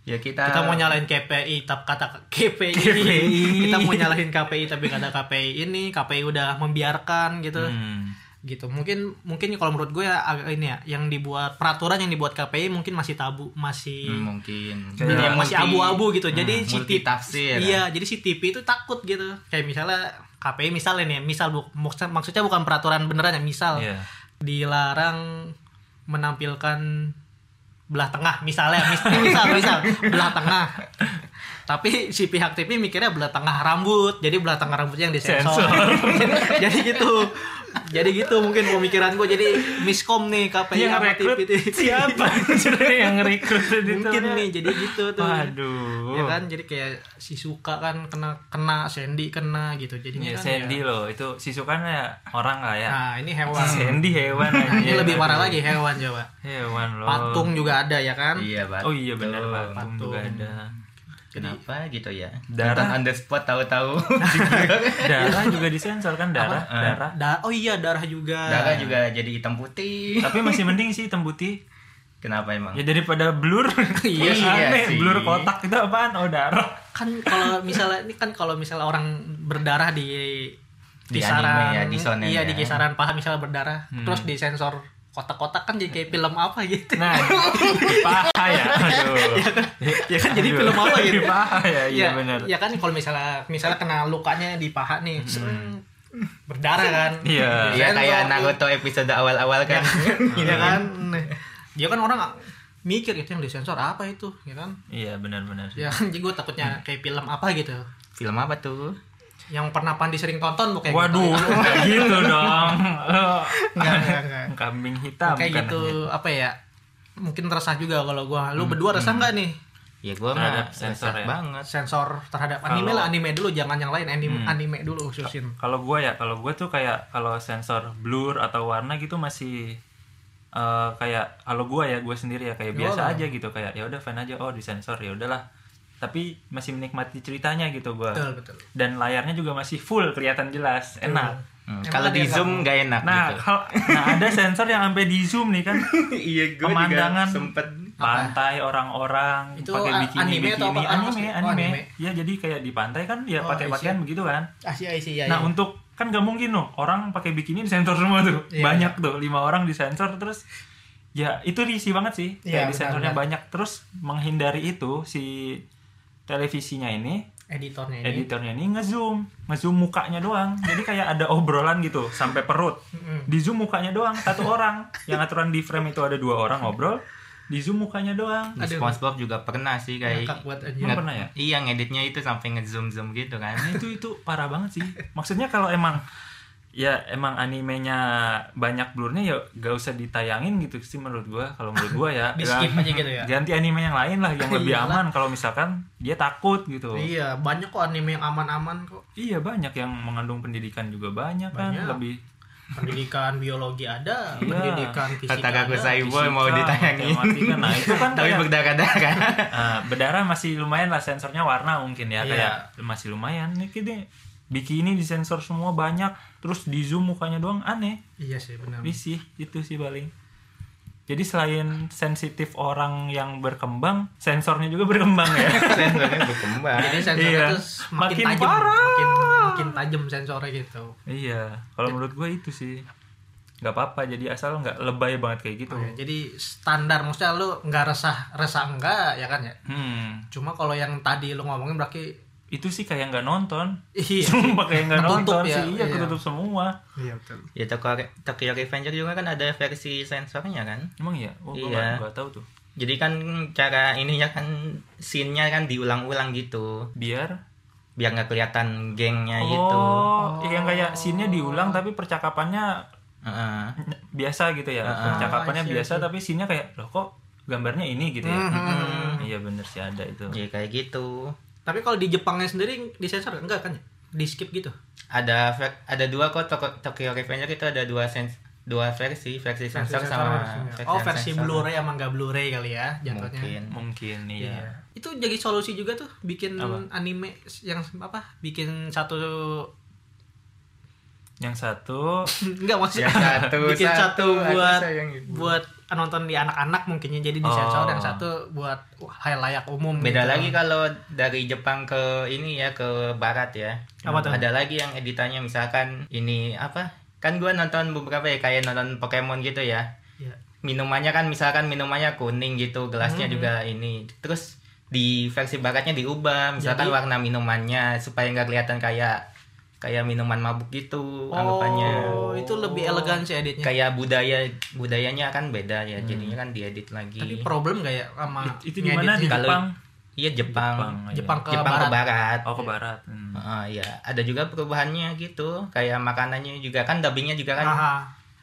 Speaker 3: Ya kita
Speaker 1: kita mau nyalahin KPI tapi kata KPI,
Speaker 2: KPI.
Speaker 1: kita mau nyalahin KPI tapi kata KPI ini KPI udah membiarkan gitu
Speaker 2: Hmm.
Speaker 1: gitu mungkin mungkin kalau menurut gue ya agak ini ya yang dibuat peraturan yang dibuat KPI mungkin masih tabu masih
Speaker 3: Hmm, mungkin
Speaker 2: Iya,
Speaker 3: Ya,
Speaker 1: masih
Speaker 3: multi-
Speaker 1: abu-abu gitu jadi
Speaker 3: hmm,
Speaker 1: si
Speaker 3: multi
Speaker 1: T-
Speaker 3: tafsir.
Speaker 1: iya jadi si TV itu takut gitu kayak misalnya KPI misalnya nih ya, misal bu- maksud- maksudnya bukan peraturan beneran ya misal
Speaker 2: Iya.
Speaker 1: dilarang menampilkan belah tengah misalnya mis- misal misal belah tengah tapi si pihak TV mikirnya belah tengah rambut jadi belah tengah rambutnya yang disensor
Speaker 2: Sensor.
Speaker 1: [laughs] jadi gitu jadi gitu mungkin pemikiran gue jadi miskom nih KPI
Speaker 2: Yang
Speaker 1: sama
Speaker 2: rekrut
Speaker 1: TV.
Speaker 2: siapa? Sebenarnya [laughs] yang rekrut itu
Speaker 1: mungkin nih jadi gitu tuh
Speaker 2: Waduh.
Speaker 1: ya kan jadi kayak si suka kan kena kena Sandy kena gitu jadinya
Speaker 2: Ya,
Speaker 1: kan
Speaker 2: Sandy
Speaker 1: ya-
Speaker 2: loh, itu sisukan ya orang lah ya.
Speaker 1: nah ini
Speaker 2: [laughs]
Speaker 1: hewan
Speaker 2: Sandy hewan
Speaker 1: Nah, ini
Speaker 2: aja.
Speaker 1: lebih parah lagi hewan coba
Speaker 2: Hewan loh.
Speaker 1: patung juga ada ya kan
Speaker 3: Iya, Bat.
Speaker 2: Oh iya benar
Speaker 3: Tuh.
Speaker 2: patung, juga
Speaker 1: Patung. [laughs]
Speaker 2: ada.
Speaker 3: Kenapa gitu ya?
Speaker 2: Darah.
Speaker 3: Nonton on the spot
Speaker 1: [laughs]
Speaker 3: tahu-tahu. Gitu.
Speaker 2: Darah juga disensor kan darah, darah.
Speaker 1: Da- oh iya darah juga
Speaker 3: Darah juga jadi hitam putih.
Speaker 2: Tapi masih mending sih hitam putih.
Speaker 3: Kenapa emang?
Speaker 2: Ya daripada
Speaker 1: [laughs]
Speaker 2: blur.
Speaker 3: Iya
Speaker 2: Terus
Speaker 3: sih, iya
Speaker 2: aneh,
Speaker 3: sih.
Speaker 2: blur kotak itu apaan? Oh darah.
Speaker 1: kan kalau misalnya ini kan kalau misalnya orang berdarah di
Speaker 3: Di
Speaker 1: kisaran
Speaker 3: anime ya, di shonen
Speaker 1: iya
Speaker 3: ya. Hmm.
Speaker 1: di kisaran paha misalnya berdarah terus disensor kotak-kotak kan jadi kayak film apa gitu
Speaker 3: [laughs]
Speaker 1: [laughs]
Speaker 2: Nah, di paha ya. Aduh.
Speaker 3: Iya,
Speaker 1: ya kan jadi
Speaker 2: Aduh.
Speaker 1: film apa
Speaker 2: Di [laughs]
Speaker 3: [laughs]
Speaker 1: gitu
Speaker 2: paha ya, iya
Speaker 1: ya,
Speaker 2: benar.
Speaker 1: ya kan kalau misalnya misalnya kena lukanya di paha nih seng, berdarah kan
Speaker 2: Iya.
Speaker 3: Hmm. Iya kayak Hmm.
Speaker 1: Sensor.
Speaker 3: Naruto episode awal-awal [laughs] kan.
Speaker 1: ya kan dia kan orang nggak mikir itu yang disensor apa itu ya kan
Speaker 2: Iya benar-benar.
Speaker 1: ya [laughs] kan jadi gue
Speaker 3: Hmm.
Speaker 1: takutnya kayak film apa gitu
Speaker 3: Film apa tuh?
Speaker 1: yang pernah Pandi sering tonton bukan
Speaker 2: Waduh,
Speaker 1: gitu.
Speaker 2: nggak [laughs] gitu dong.
Speaker 1: [laughs] Nggak, nggak, nggak.
Speaker 2: Kambing hitam
Speaker 1: kayak
Speaker 2: kan.
Speaker 1: gitu apa ya mungkin resah juga kalau gua lu berdua resah nggak nih
Speaker 3: Ya gua
Speaker 2: Terhadap
Speaker 3: mah
Speaker 2: sensor
Speaker 3: sensor
Speaker 2: ya.
Speaker 3: banget.
Speaker 1: sensor terhadap anime
Speaker 2: Kalau-
Speaker 1: lah anime dulu jangan yang lain anime anime dulu khususin
Speaker 2: Kalau gua ya, kalau gua tuh kayak kalau sensor blur atau warna gitu masih eh, kayak kalau gua ya, gua sendiri ya kayak
Speaker 1: Oh,
Speaker 2: biasa aja gitu kayak ya udah fine aja oh disensor ya udahlah. Tapi masih menikmati ceritanya gitu gua.
Speaker 1: betul betul
Speaker 2: Dan layarnya juga masih full kelihatan jelas, enak.
Speaker 3: Hmm,
Speaker 1: Emang
Speaker 3: Kalau
Speaker 1: ada
Speaker 3: di
Speaker 1: yang
Speaker 3: zoom gak enak
Speaker 2: Nah, [laughs]
Speaker 3: gitu.
Speaker 2: kalau nah ada sensor yang sampai di zoom
Speaker 1: [laughs]
Speaker 2: nih kan
Speaker 3: Iya gua
Speaker 2: pemandangan.
Speaker 3: sempet
Speaker 2: pantai orang-orang
Speaker 1: Itu
Speaker 2: pakai
Speaker 1: a-
Speaker 2: bikini
Speaker 1: anime atau
Speaker 2: bikini
Speaker 1: apa?
Speaker 2: anime
Speaker 1: Oh,
Speaker 2: anime.
Speaker 1: anime.
Speaker 2: ya jadi kayak di pantai kan ya
Speaker 1: Oh,
Speaker 2: pakai
Speaker 1: I see.
Speaker 2: pakaian begitu kan
Speaker 1: ah sih iya, iya,
Speaker 2: nah
Speaker 1: iya.
Speaker 2: untuk kan gak mungkin loh orang pakai bikini disensor semua tuh
Speaker 1: Iya,
Speaker 2: banyak tuh lima orang disensor terus ya itu diisi banget sih
Speaker 1: Iya,
Speaker 2: kayak disensornya
Speaker 1: benar-benar.
Speaker 2: banyak terus menghindari itu si televisinya ini
Speaker 1: editornya ini
Speaker 2: editornya ini ngezoom ngezoom mukanya doang jadi kayak ada obrolan gitu sampai perut
Speaker 1: Mm-mm.
Speaker 2: di zoom mukanya doang satu orang yang aturan di frame itu ada dua orang ngobrol di zoom mukanya doang
Speaker 3: di
Speaker 1: Aduh.
Speaker 3: SpongeBob juga pernah sih kayak
Speaker 1: Ngakak buat aja.
Speaker 2: Emang pernah ya?
Speaker 3: Iya ngeditnya itu sampai ngezoom zoom gitu kan.
Speaker 2: Nah, itu itu parah banget sih maksudnya kalau emang ya emang animenya banyak blurnya ya gak usah ditayangin gitu sih menurut gua kalau menurut gua ya
Speaker 1: [laughs] di
Speaker 2: Ya,
Speaker 1: skip aja gitu ya
Speaker 2: ganti anime yang lain lah yang lebih
Speaker 1: Iyalah.
Speaker 2: aman kalau misalkan dia takut gitu
Speaker 1: iya banyak kok anime yang aman-aman kok
Speaker 2: iya banyak yang mengandung pendidikan juga banyak,
Speaker 1: Banyak.
Speaker 2: kan lebih
Speaker 1: pendidikan biologi ada
Speaker 2: Iya.
Speaker 1: pendidikan fisika
Speaker 3: Kata Kaku
Speaker 1: ada.
Speaker 3: Saiboy mau
Speaker 2: Fisika,
Speaker 3: ditayangin.
Speaker 2: matematika. nah itu kan
Speaker 3: [laughs] Tapi
Speaker 2: kayak-
Speaker 3: berdarah-darah. kan.
Speaker 2: Ah, berdarah masih lumayan lah sensornya warna mungkin ya
Speaker 1: Iya.
Speaker 2: kayak masih lumayan nih gini bikini disensor semua banyak terus di zoom mukanya doang aneh
Speaker 1: iya sih benar
Speaker 2: risih itu sih paling jadi selain sensitif orang yang berkembang sensornya juga [laughs] berkembang ya
Speaker 3: Sensornya berkembang.
Speaker 1: jadi sensornya
Speaker 2: Iya.
Speaker 1: tuh makin,
Speaker 2: Makin
Speaker 1: tajam
Speaker 2: parah.
Speaker 1: makin makin tajam sensornya gitu
Speaker 2: iya kalau menurut gue itu sih nggak apa-apa jadi asal nggak lebay banget kayak gitu
Speaker 1: Oke, jadi standar maksudnya lu nggak resah resah enggak ya kan ya
Speaker 2: hmm
Speaker 1: cuma kalau yang tadi lu ngomongin berarti [laughs]
Speaker 2: itu sih kayak nggak nonton
Speaker 1: Iya.
Speaker 2: [laughs] sumpah kayak nggak
Speaker 1: Ketutup
Speaker 2: nonton
Speaker 1: ya,
Speaker 2: sih iya,
Speaker 1: iya.
Speaker 2: ketutup semua
Speaker 1: Iya betul.
Speaker 3: Ya Tokyo, Tokyo Revenger juga kan ada versi sensornya kan.
Speaker 2: emang iya oh, gue
Speaker 3: Iya.
Speaker 2: nggak nggak tahu tuh
Speaker 3: Jadi kan cara ininya kan scene-nya kan diulang-ulang gitu.
Speaker 2: biar
Speaker 3: Biar nggak
Speaker 2: Nah,
Speaker 3: kelihatan gengnya gitu.
Speaker 2: oh, yang kayak scene-nya diulang tapi percakapannya
Speaker 3: Heeh.
Speaker 2: biasa gitu ya percakapannya
Speaker 1: Iya,
Speaker 2: biasa tapi scene-nya kayak loh kok gambarnya ini gitu ya
Speaker 1: Mm-hmm.
Speaker 2: iya bener sih ada itu
Speaker 3: Ya kayak gitu.
Speaker 1: Tapi kalau di Jepangnya sendiri disensor enggak kan? ya? Di skip gitu.
Speaker 3: Ada ver- ada dua kok Toko- Tokyo Revenger itu ada dua sens dua versi, versi sensor sama
Speaker 1: Oh versi
Speaker 3: non-sensor.
Speaker 1: Blu-ray emang nggak Blu-ray kali ya jatuhnya.
Speaker 3: Mungkin.
Speaker 2: mungkin iya
Speaker 1: Itu jadi solusi juga tuh bikin anime yang apa? Bikin satu [laughs]
Speaker 2: yang satu
Speaker 1: enggak maksudnya
Speaker 3: Yang satu,
Speaker 1: [laughs] bikin
Speaker 3: satu,
Speaker 1: satu,
Speaker 3: aku
Speaker 1: buat
Speaker 3: sayang ibu. Oh.
Speaker 1: buat nonton di anak-anak mungkinnya jadi disensor yang satu buat hal layak umum.
Speaker 3: Beda
Speaker 1: gitu.
Speaker 3: lagi kalau dari Jepang ke ini ya ke barat ya.
Speaker 1: Apa tuh?
Speaker 3: Ada lagi yang editannya misalkan ini apa? Kan gua nonton beberapa ya kayak nonton Pokemon gitu ya.
Speaker 1: Iya.
Speaker 3: Minumannya kan misalkan minumannya kuning gitu, gelasnya juga ini. Terus di versi baratnya diubah, misalkan
Speaker 1: Jadi-
Speaker 3: warna minumannya supaya nggak kelihatan kayak kayak minuman mabuk gitu anggapannya.
Speaker 1: Oh, itu lebih elegan sih editnya.
Speaker 3: Kayak budaya budayanya kan beda ya, jadinya kan diedit lagi.
Speaker 1: Mm. Tapi problem gak ya sama
Speaker 2: itu di mana di
Speaker 1: ngeditnya?
Speaker 3: Kalau-
Speaker 2: Jepang
Speaker 3: Iya Jepang.
Speaker 2: ah, Jepang, iya.
Speaker 1: Jepang Ah. ke
Speaker 3: Jepang
Speaker 1: barat.
Speaker 3: ke barat.
Speaker 2: oh ke barat Hmm.
Speaker 3: Heeh, iya, ada juga perubahannya gitu. Kayak makanannya juga kan dubbingnya juga kan
Speaker 1: Aha.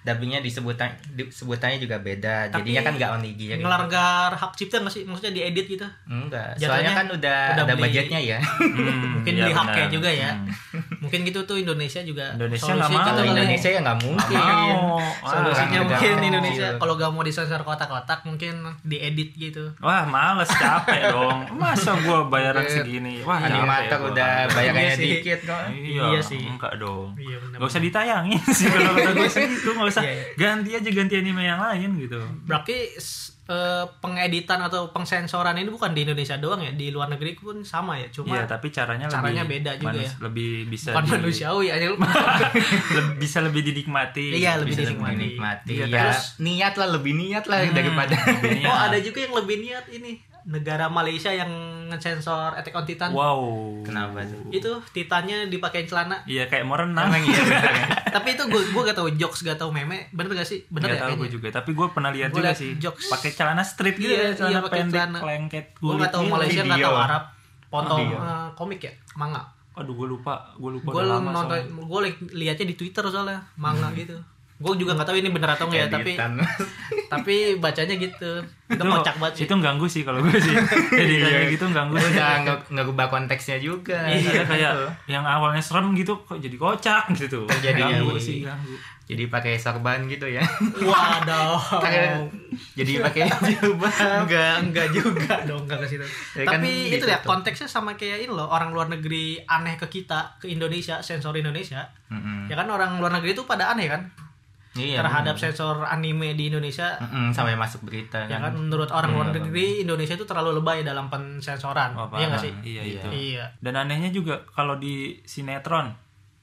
Speaker 3: dubbingnya disebutan disebutannya juga beda.
Speaker 1: Tapi
Speaker 3: Jadinya kan nggak onigiri.
Speaker 1: Ngelanggar hak cipta gak sih? Maksudnya diedit gitu.
Speaker 3: Enggak.
Speaker 1: Jatuhnya
Speaker 3: Soalnya kan udah,
Speaker 1: udah
Speaker 3: ada
Speaker 1: beli-
Speaker 3: budgetnya ya.
Speaker 2: Hmm,
Speaker 1: Mungkin
Speaker 2: iya,
Speaker 1: beli haknya
Speaker 2: benar.
Speaker 1: juga ya.
Speaker 2: Hmm.
Speaker 1: Mungkin gitu tuh Indonesia juga.
Speaker 2: Indonesia
Speaker 1: solusi
Speaker 2: nggak mau.
Speaker 1: gitu
Speaker 3: Kalau
Speaker 1: kali ya.
Speaker 3: Indonesia ya nggak mungkin.
Speaker 1: Iya
Speaker 2: mau
Speaker 1: Solusinya
Speaker 3: Orang
Speaker 1: mungkin
Speaker 3: negara
Speaker 1: Indonesia
Speaker 3: kecil.
Speaker 1: kalau gak mau disensor kotak-kotak mungkin diedit gitu.
Speaker 2: Wah males capek dong Masa gua bayaran segini Wah capek
Speaker 3: Animator
Speaker 2: gua.
Speaker 3: udah bayarannya
Speaker 1: Iya sih.
Speaker 3: dikit kok.
Speaker 2: Iya,
Speaker 1: Iya sih.
Speaker 2: Enggak dong
Speaker 1: Iya, benar.
Speaker 2: Gak usah ditayangin sih Kalau kata gue sih gitu Gak usah
Speaker 1: Iya, iya.
Speaker 2: Ganti aja ganti anime yang lain gitu
Speaker 1: Berarti s- eh, pengeditan atau pengsensoran ini bukan di Indonesia doang ya, di luar negeri pun sama ya. Cuma
Speaker 2: Iya tapi caranya,
Speaker 1: caranya
Speaker 2: lebih
Speaker 1: beda juga ya.
Speaker 2: Lebih bisa
Speaker 1: bukan
Speaker 2: di-
Speaker 1: manusiawi ya.
Speaker 2: le- Bisa [laughs] lebih dinikmati gitu.
Speaker 1: Iya, lebih
Speaker 2: Bisa
Speaker 1: dinikmati.
Speaker 3: Nikmati.
Speaker 2: Iya,
Speaker 3: ya.
Speaker 2: terus-
Speaker 3: niat lah lebih niat lah
Speaker 1: [laughs]
Speaker 3: daripada
Speaker 1: Oh,
Speaker 2: Lebih niat.
Speaker 1: ada juga yang lebih niat ini. Negara Malaysia yang ngensensor Attack on Titan.
Speaker 2: Wow
Speaker 3: kenapa tuh?
Speaker 1: Itu Titannya dipakein [laughs] celana.
Speaker 2: Iya kayak mau renang
Speaker 3: Emang iya bener ya?
Speaker 1: Tapi itu gue gua gak tahu jokes, gak tahu meme. Bener gak sih? Bener
Speaker 2: [laughs] Nggak
Speaker 1: ya
Speaker 2: tahu gue
Speaker 1: kayaknya.
Speaker 2: juga Tapi gue pernah lihat
Speaker 1: Gua
Speaker 2: juga
Speaker 1: liat
Speaker 2: sih
Speaker 1: jokes.
Speaker 2: Pakai celana strip gitu
Speaker 1: Iya,
Speaker 2: ya Celana
Speaker 1: iya, pakai
Speaker 2: pendek
Speaker 1: celana.
Speaker 2: Lengket gitu.
Speaker 1: Gue gak tahu
Speaker 2: kulitnya.
Speaker 1: Malaysia, gak
Speaker 3: Video.
Speaker 1: tahu Arab. Potong
Speaker 3: Video.
Speaker 1: eh, komik ya, manga.
Speaker 2: Aduh gue lupa Gue lupa
Speaker 1: Gue
Speaker 2: udah lama
Speaker 1: nonton,
Speaker 2: soalnya.
Speaker 1: gue liatnya di Twitter soalnya manga gitu. Gue juga gak tahu ini bener atau enggak ya, tapi
Speaker 3: Editan.
Speaker 1: [laughs] tapi bacanya gitu. Itu kocak banget Iya. sih.
Speaker 2: itu ganggu sih kalau gue
Speaker 1: [laughs]
Speaker 2: sih jadi kayak gitu ganggu sih
Speaker 3: udah nge- ngerubah konteksnya juga.
Speaker 2: Ada
Speaker 1: iya,
Speaker 3: Gitu.
Speaker 2: kayak yang awalnya serem gitu kok jadi kocak gitu
Speaker 3: Jadi
Speaker 2: ganggu
Speaker 3: ganggu.
Speaker 2: sih ganggu
Speaker 1: Iya
Speaker 3: jadi pakai sorban gitu
Speaker 1: [laughs]
Speaker 3: ya.
Speaker 1: Waduh.
Speaker 3: Pakai- jadi
Speaker 1: [laughs]
Speaker 3: pakai jubah.
Speaker 1: Oh. enggak [laughs] enggak juga dong enggak ke situ.
Speaker 3: Ya kan
Speaker 1: tapi itu
Speaker 3: gitu
Speaker 1: ya
Speaker 3: tuh.
Speaker 1: konteksnya sama kayak ini loh orang luar negeri aneh ke kita ke Indonesia sensor Indonesia
Speaker 3: Mm-mm.
Speaker 1: ya kan orang luar negeri itu pada aneh kan
Speaker 3: Iya,
Speaker 1: terhadap sensor anime di Indonesia
Speaker 3: Mm-mm, sampai masuk berita
Speaker 1: ya
Speaker 3: kan.
Speaker 1: kan menurut orang luar negeri Indonesia itu terlalu lebay dalam pensensoran
Speaker 2: Apa-apa.
Speaker 1: iya nggak sih
Speaker 2: iya
Speaker 3: Iya.
Speaker 2: itu
Speaker 1: iya
Speaker 2: dan anehnya juga kalau di sinetron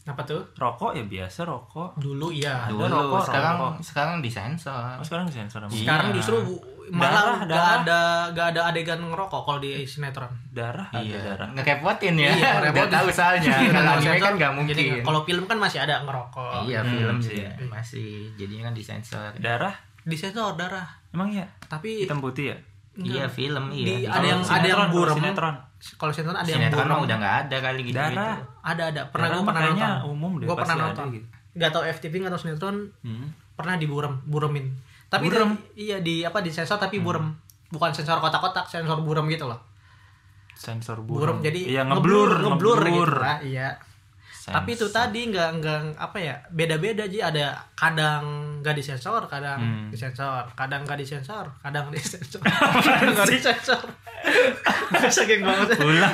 Speaker 1: apa tuh
Speaker 2: rokok ya biasa rokok
Speaker 1: dulu iya
Speaker 3: Dulu
Speaker 2: Ada rokok,
Speaker 3: sekarang
Speaker 2: rokok.
Speaker 3: sekarang disensor.
Speaker 2: oh, sekarang disensor sama
Speaker 3: Iya.
Speaker 1: sekarang justru bu- malah nggak
Speaker 2: Darah, darah.
Speaker 1: ada nggak ada adegan ngerokok kalau di
Speaker 3: [laughs]
Speaker 1: sinetron
Speaker 2: darah ada
Speaker 3: Iya,
Speaker 2: darah
Speaker 3: ngekepotin ya.
Speaker 1: Iya,
Speaker 3: Nggak
Speaker 1: [laughs] ngerepotin.
Speaker 3: tahu soalnya. Kalau anime
Speaker 1: Sensor,
Speaker 3: kan nggak mungkin.
Speaker 1: jadi kalau film kan masih ada ngerokok
Speaker 3: Iya,
Speaker 2: Hmm,
Speaker 3: film sih
Speaker 2: iya.
Speaker 3: ya. masih jadinya kan disensor.
Speaker 2: darah
Speaker 1: disensor darah
Speaker 2: emang ya
Speaker 1: tapi
Speaker 2: hitam putih ya
Speaker 3: Iya,
Speaker 1: Enggak.
Speaker 3: film iya.
Speaker 1: Di-
Speaker 3: Kalau
Speaker 1: ada yang ada yang
Speaker 2: sinetron,
Speaker 1: burem.
Speaker 2: kalau sinetron.
Speaker 1: Kalau sinetron ada yang
Speaker 3: sinetron
Speaker 1: burem.
Speaker 3: mah udah nggak ada kali gitu.
Speaker 2: darah
Speaker 1: Ada ada. Pernah
Speaker 2: Darah
Speaker 1: gue
Speaker 2: mah
Speaker 1: pernah
Speaker 2: kayaknya
Speaker 1: nonton.
Speaker 2: umum deh,
Speaker 1: Gue
Speaker 2: pasti
Speaker 1: pernah
Speaker 2: ada
Speaker 1: nonton.
Speaker 2: gitu.
Speaker 1: Gak tau FTP nggak tau sinetron
Speaker 2: Hmm.
Speaker 1: pernah diburem, buremin. Tapi itu-
Speaker 2: Burem?
Speaker 1: iya di apa di sensor tapi burem. Bukan sensor kotak-kotak, sensor burem gitu loh.
Speaker 2: sensor burem,
Speaker 1: Burem jadi
Speaker 2: ya ngeblur
Speaker 1: ngeblur,
Speaker 2: ngeblur.
Speaker 1: gitu lah, iya.
Speaker 2: Sensor.
Speaker 1: Tapi itu tadi nggak nggak apa ya beda-beda aja ada kadang nggak disensor, kadang disensor, kadang nggak disensor, kadang [laughs] disensor, kadang nggak disensor. [laughs] Saking banget.
Speaker 2: ulang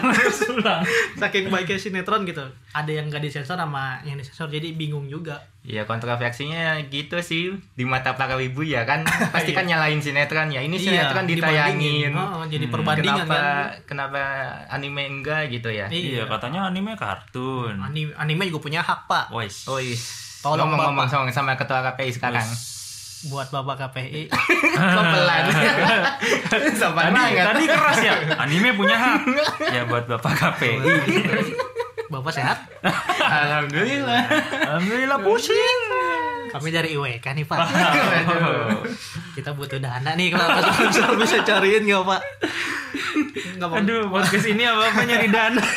Speaker 2: ulang
Speaker 1: saking baiknya sinetron gitu ada yang gak disensor sama yang disensor jadi bingung juga
Speaker 3: Iya kontroversinya gitu sih di mata para wibu ya kan pasti kan nyalain sinetron ya ini sinetron
Speaker 1: Iya, dibandingin.
Speaker 3: ditayangin
Speaker 1: Oh, jadi perbandingan
Speaker 3: kenapa
Speaker 1: kan
Speaker 3: kenapa anime enggak gitu ya
Speaker 2: iya katanya anime kartun
Speaker 1: anime, anime juga punya hak pak
Speaker 2: Wes.
Speaker 3: Oi,
Speaker 1: Tolong,
Speaker 3: [laughs] ngomong-ngomong sama, sama ketua KPI sekarang.
Speaker 1: buat bapak [laughs] KPI
Speaker 3: Kok
Speaker 1: [laughs]
Speaker 3: pelan? Sopan
Speaker 2: Tadi,
Speaker 3: banget.
Speaker 2: tadi
Speaker 1: kan-
Speaker 2: keras ya. Anime punya hak. Ya buat Bapak
Speaker 1: Iya.
Speaker 2: KPI.
Speaker 1: bapak sehat [laughs]
Speaker 3: Alhamdulillah.
Speaker 2: Alhamdulillah pusing.
Speaker 1: kami dari IWK nih [laughs] pak
Speaker 3: Aduh.
Speaker 1: kita butuh dana nih kalau ada sponsor bisa cariin nggak pak nggak apa
Speaker 2: Aduh, podcast ini apa-apa nyari dana.
Speaker 1: [laughs]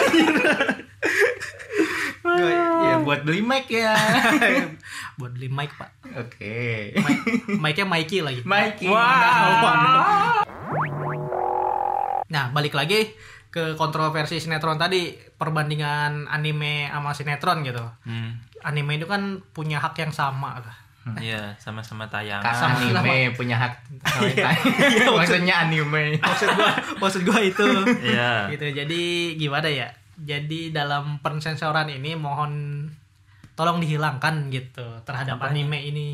Speaker 3: ya buat beli mic ya. [laughs]
Speaker 1: buat beli mic pak
Speaker 3: Oke.
Speaker 1: mic-nya Mikey lagi
Speaker 3: Mikey.
Speaker 1: nah balik lagi ke kontroversi sinetron tadi perbandingan anime sama sinetron gitu
Speaker 2: Hmm.
Speaker 1: anime itu kan punya hak yang sama lah [laughs]
Speaker 2: Iya, sama-sama tayangan.
Speaker 1: Sama sih lah,
Speaker 3: anime punya hak. [laughs] Iya, Maksudnya anime.
Speaker 1: maksud gua maksud gua itu [laughs]
Speaker 2: Iya.
Speaker 1: gitu jadi gimana ya jadi dalam pensensoran ini mohon tolong dihilangkan gitu terhadap anime ini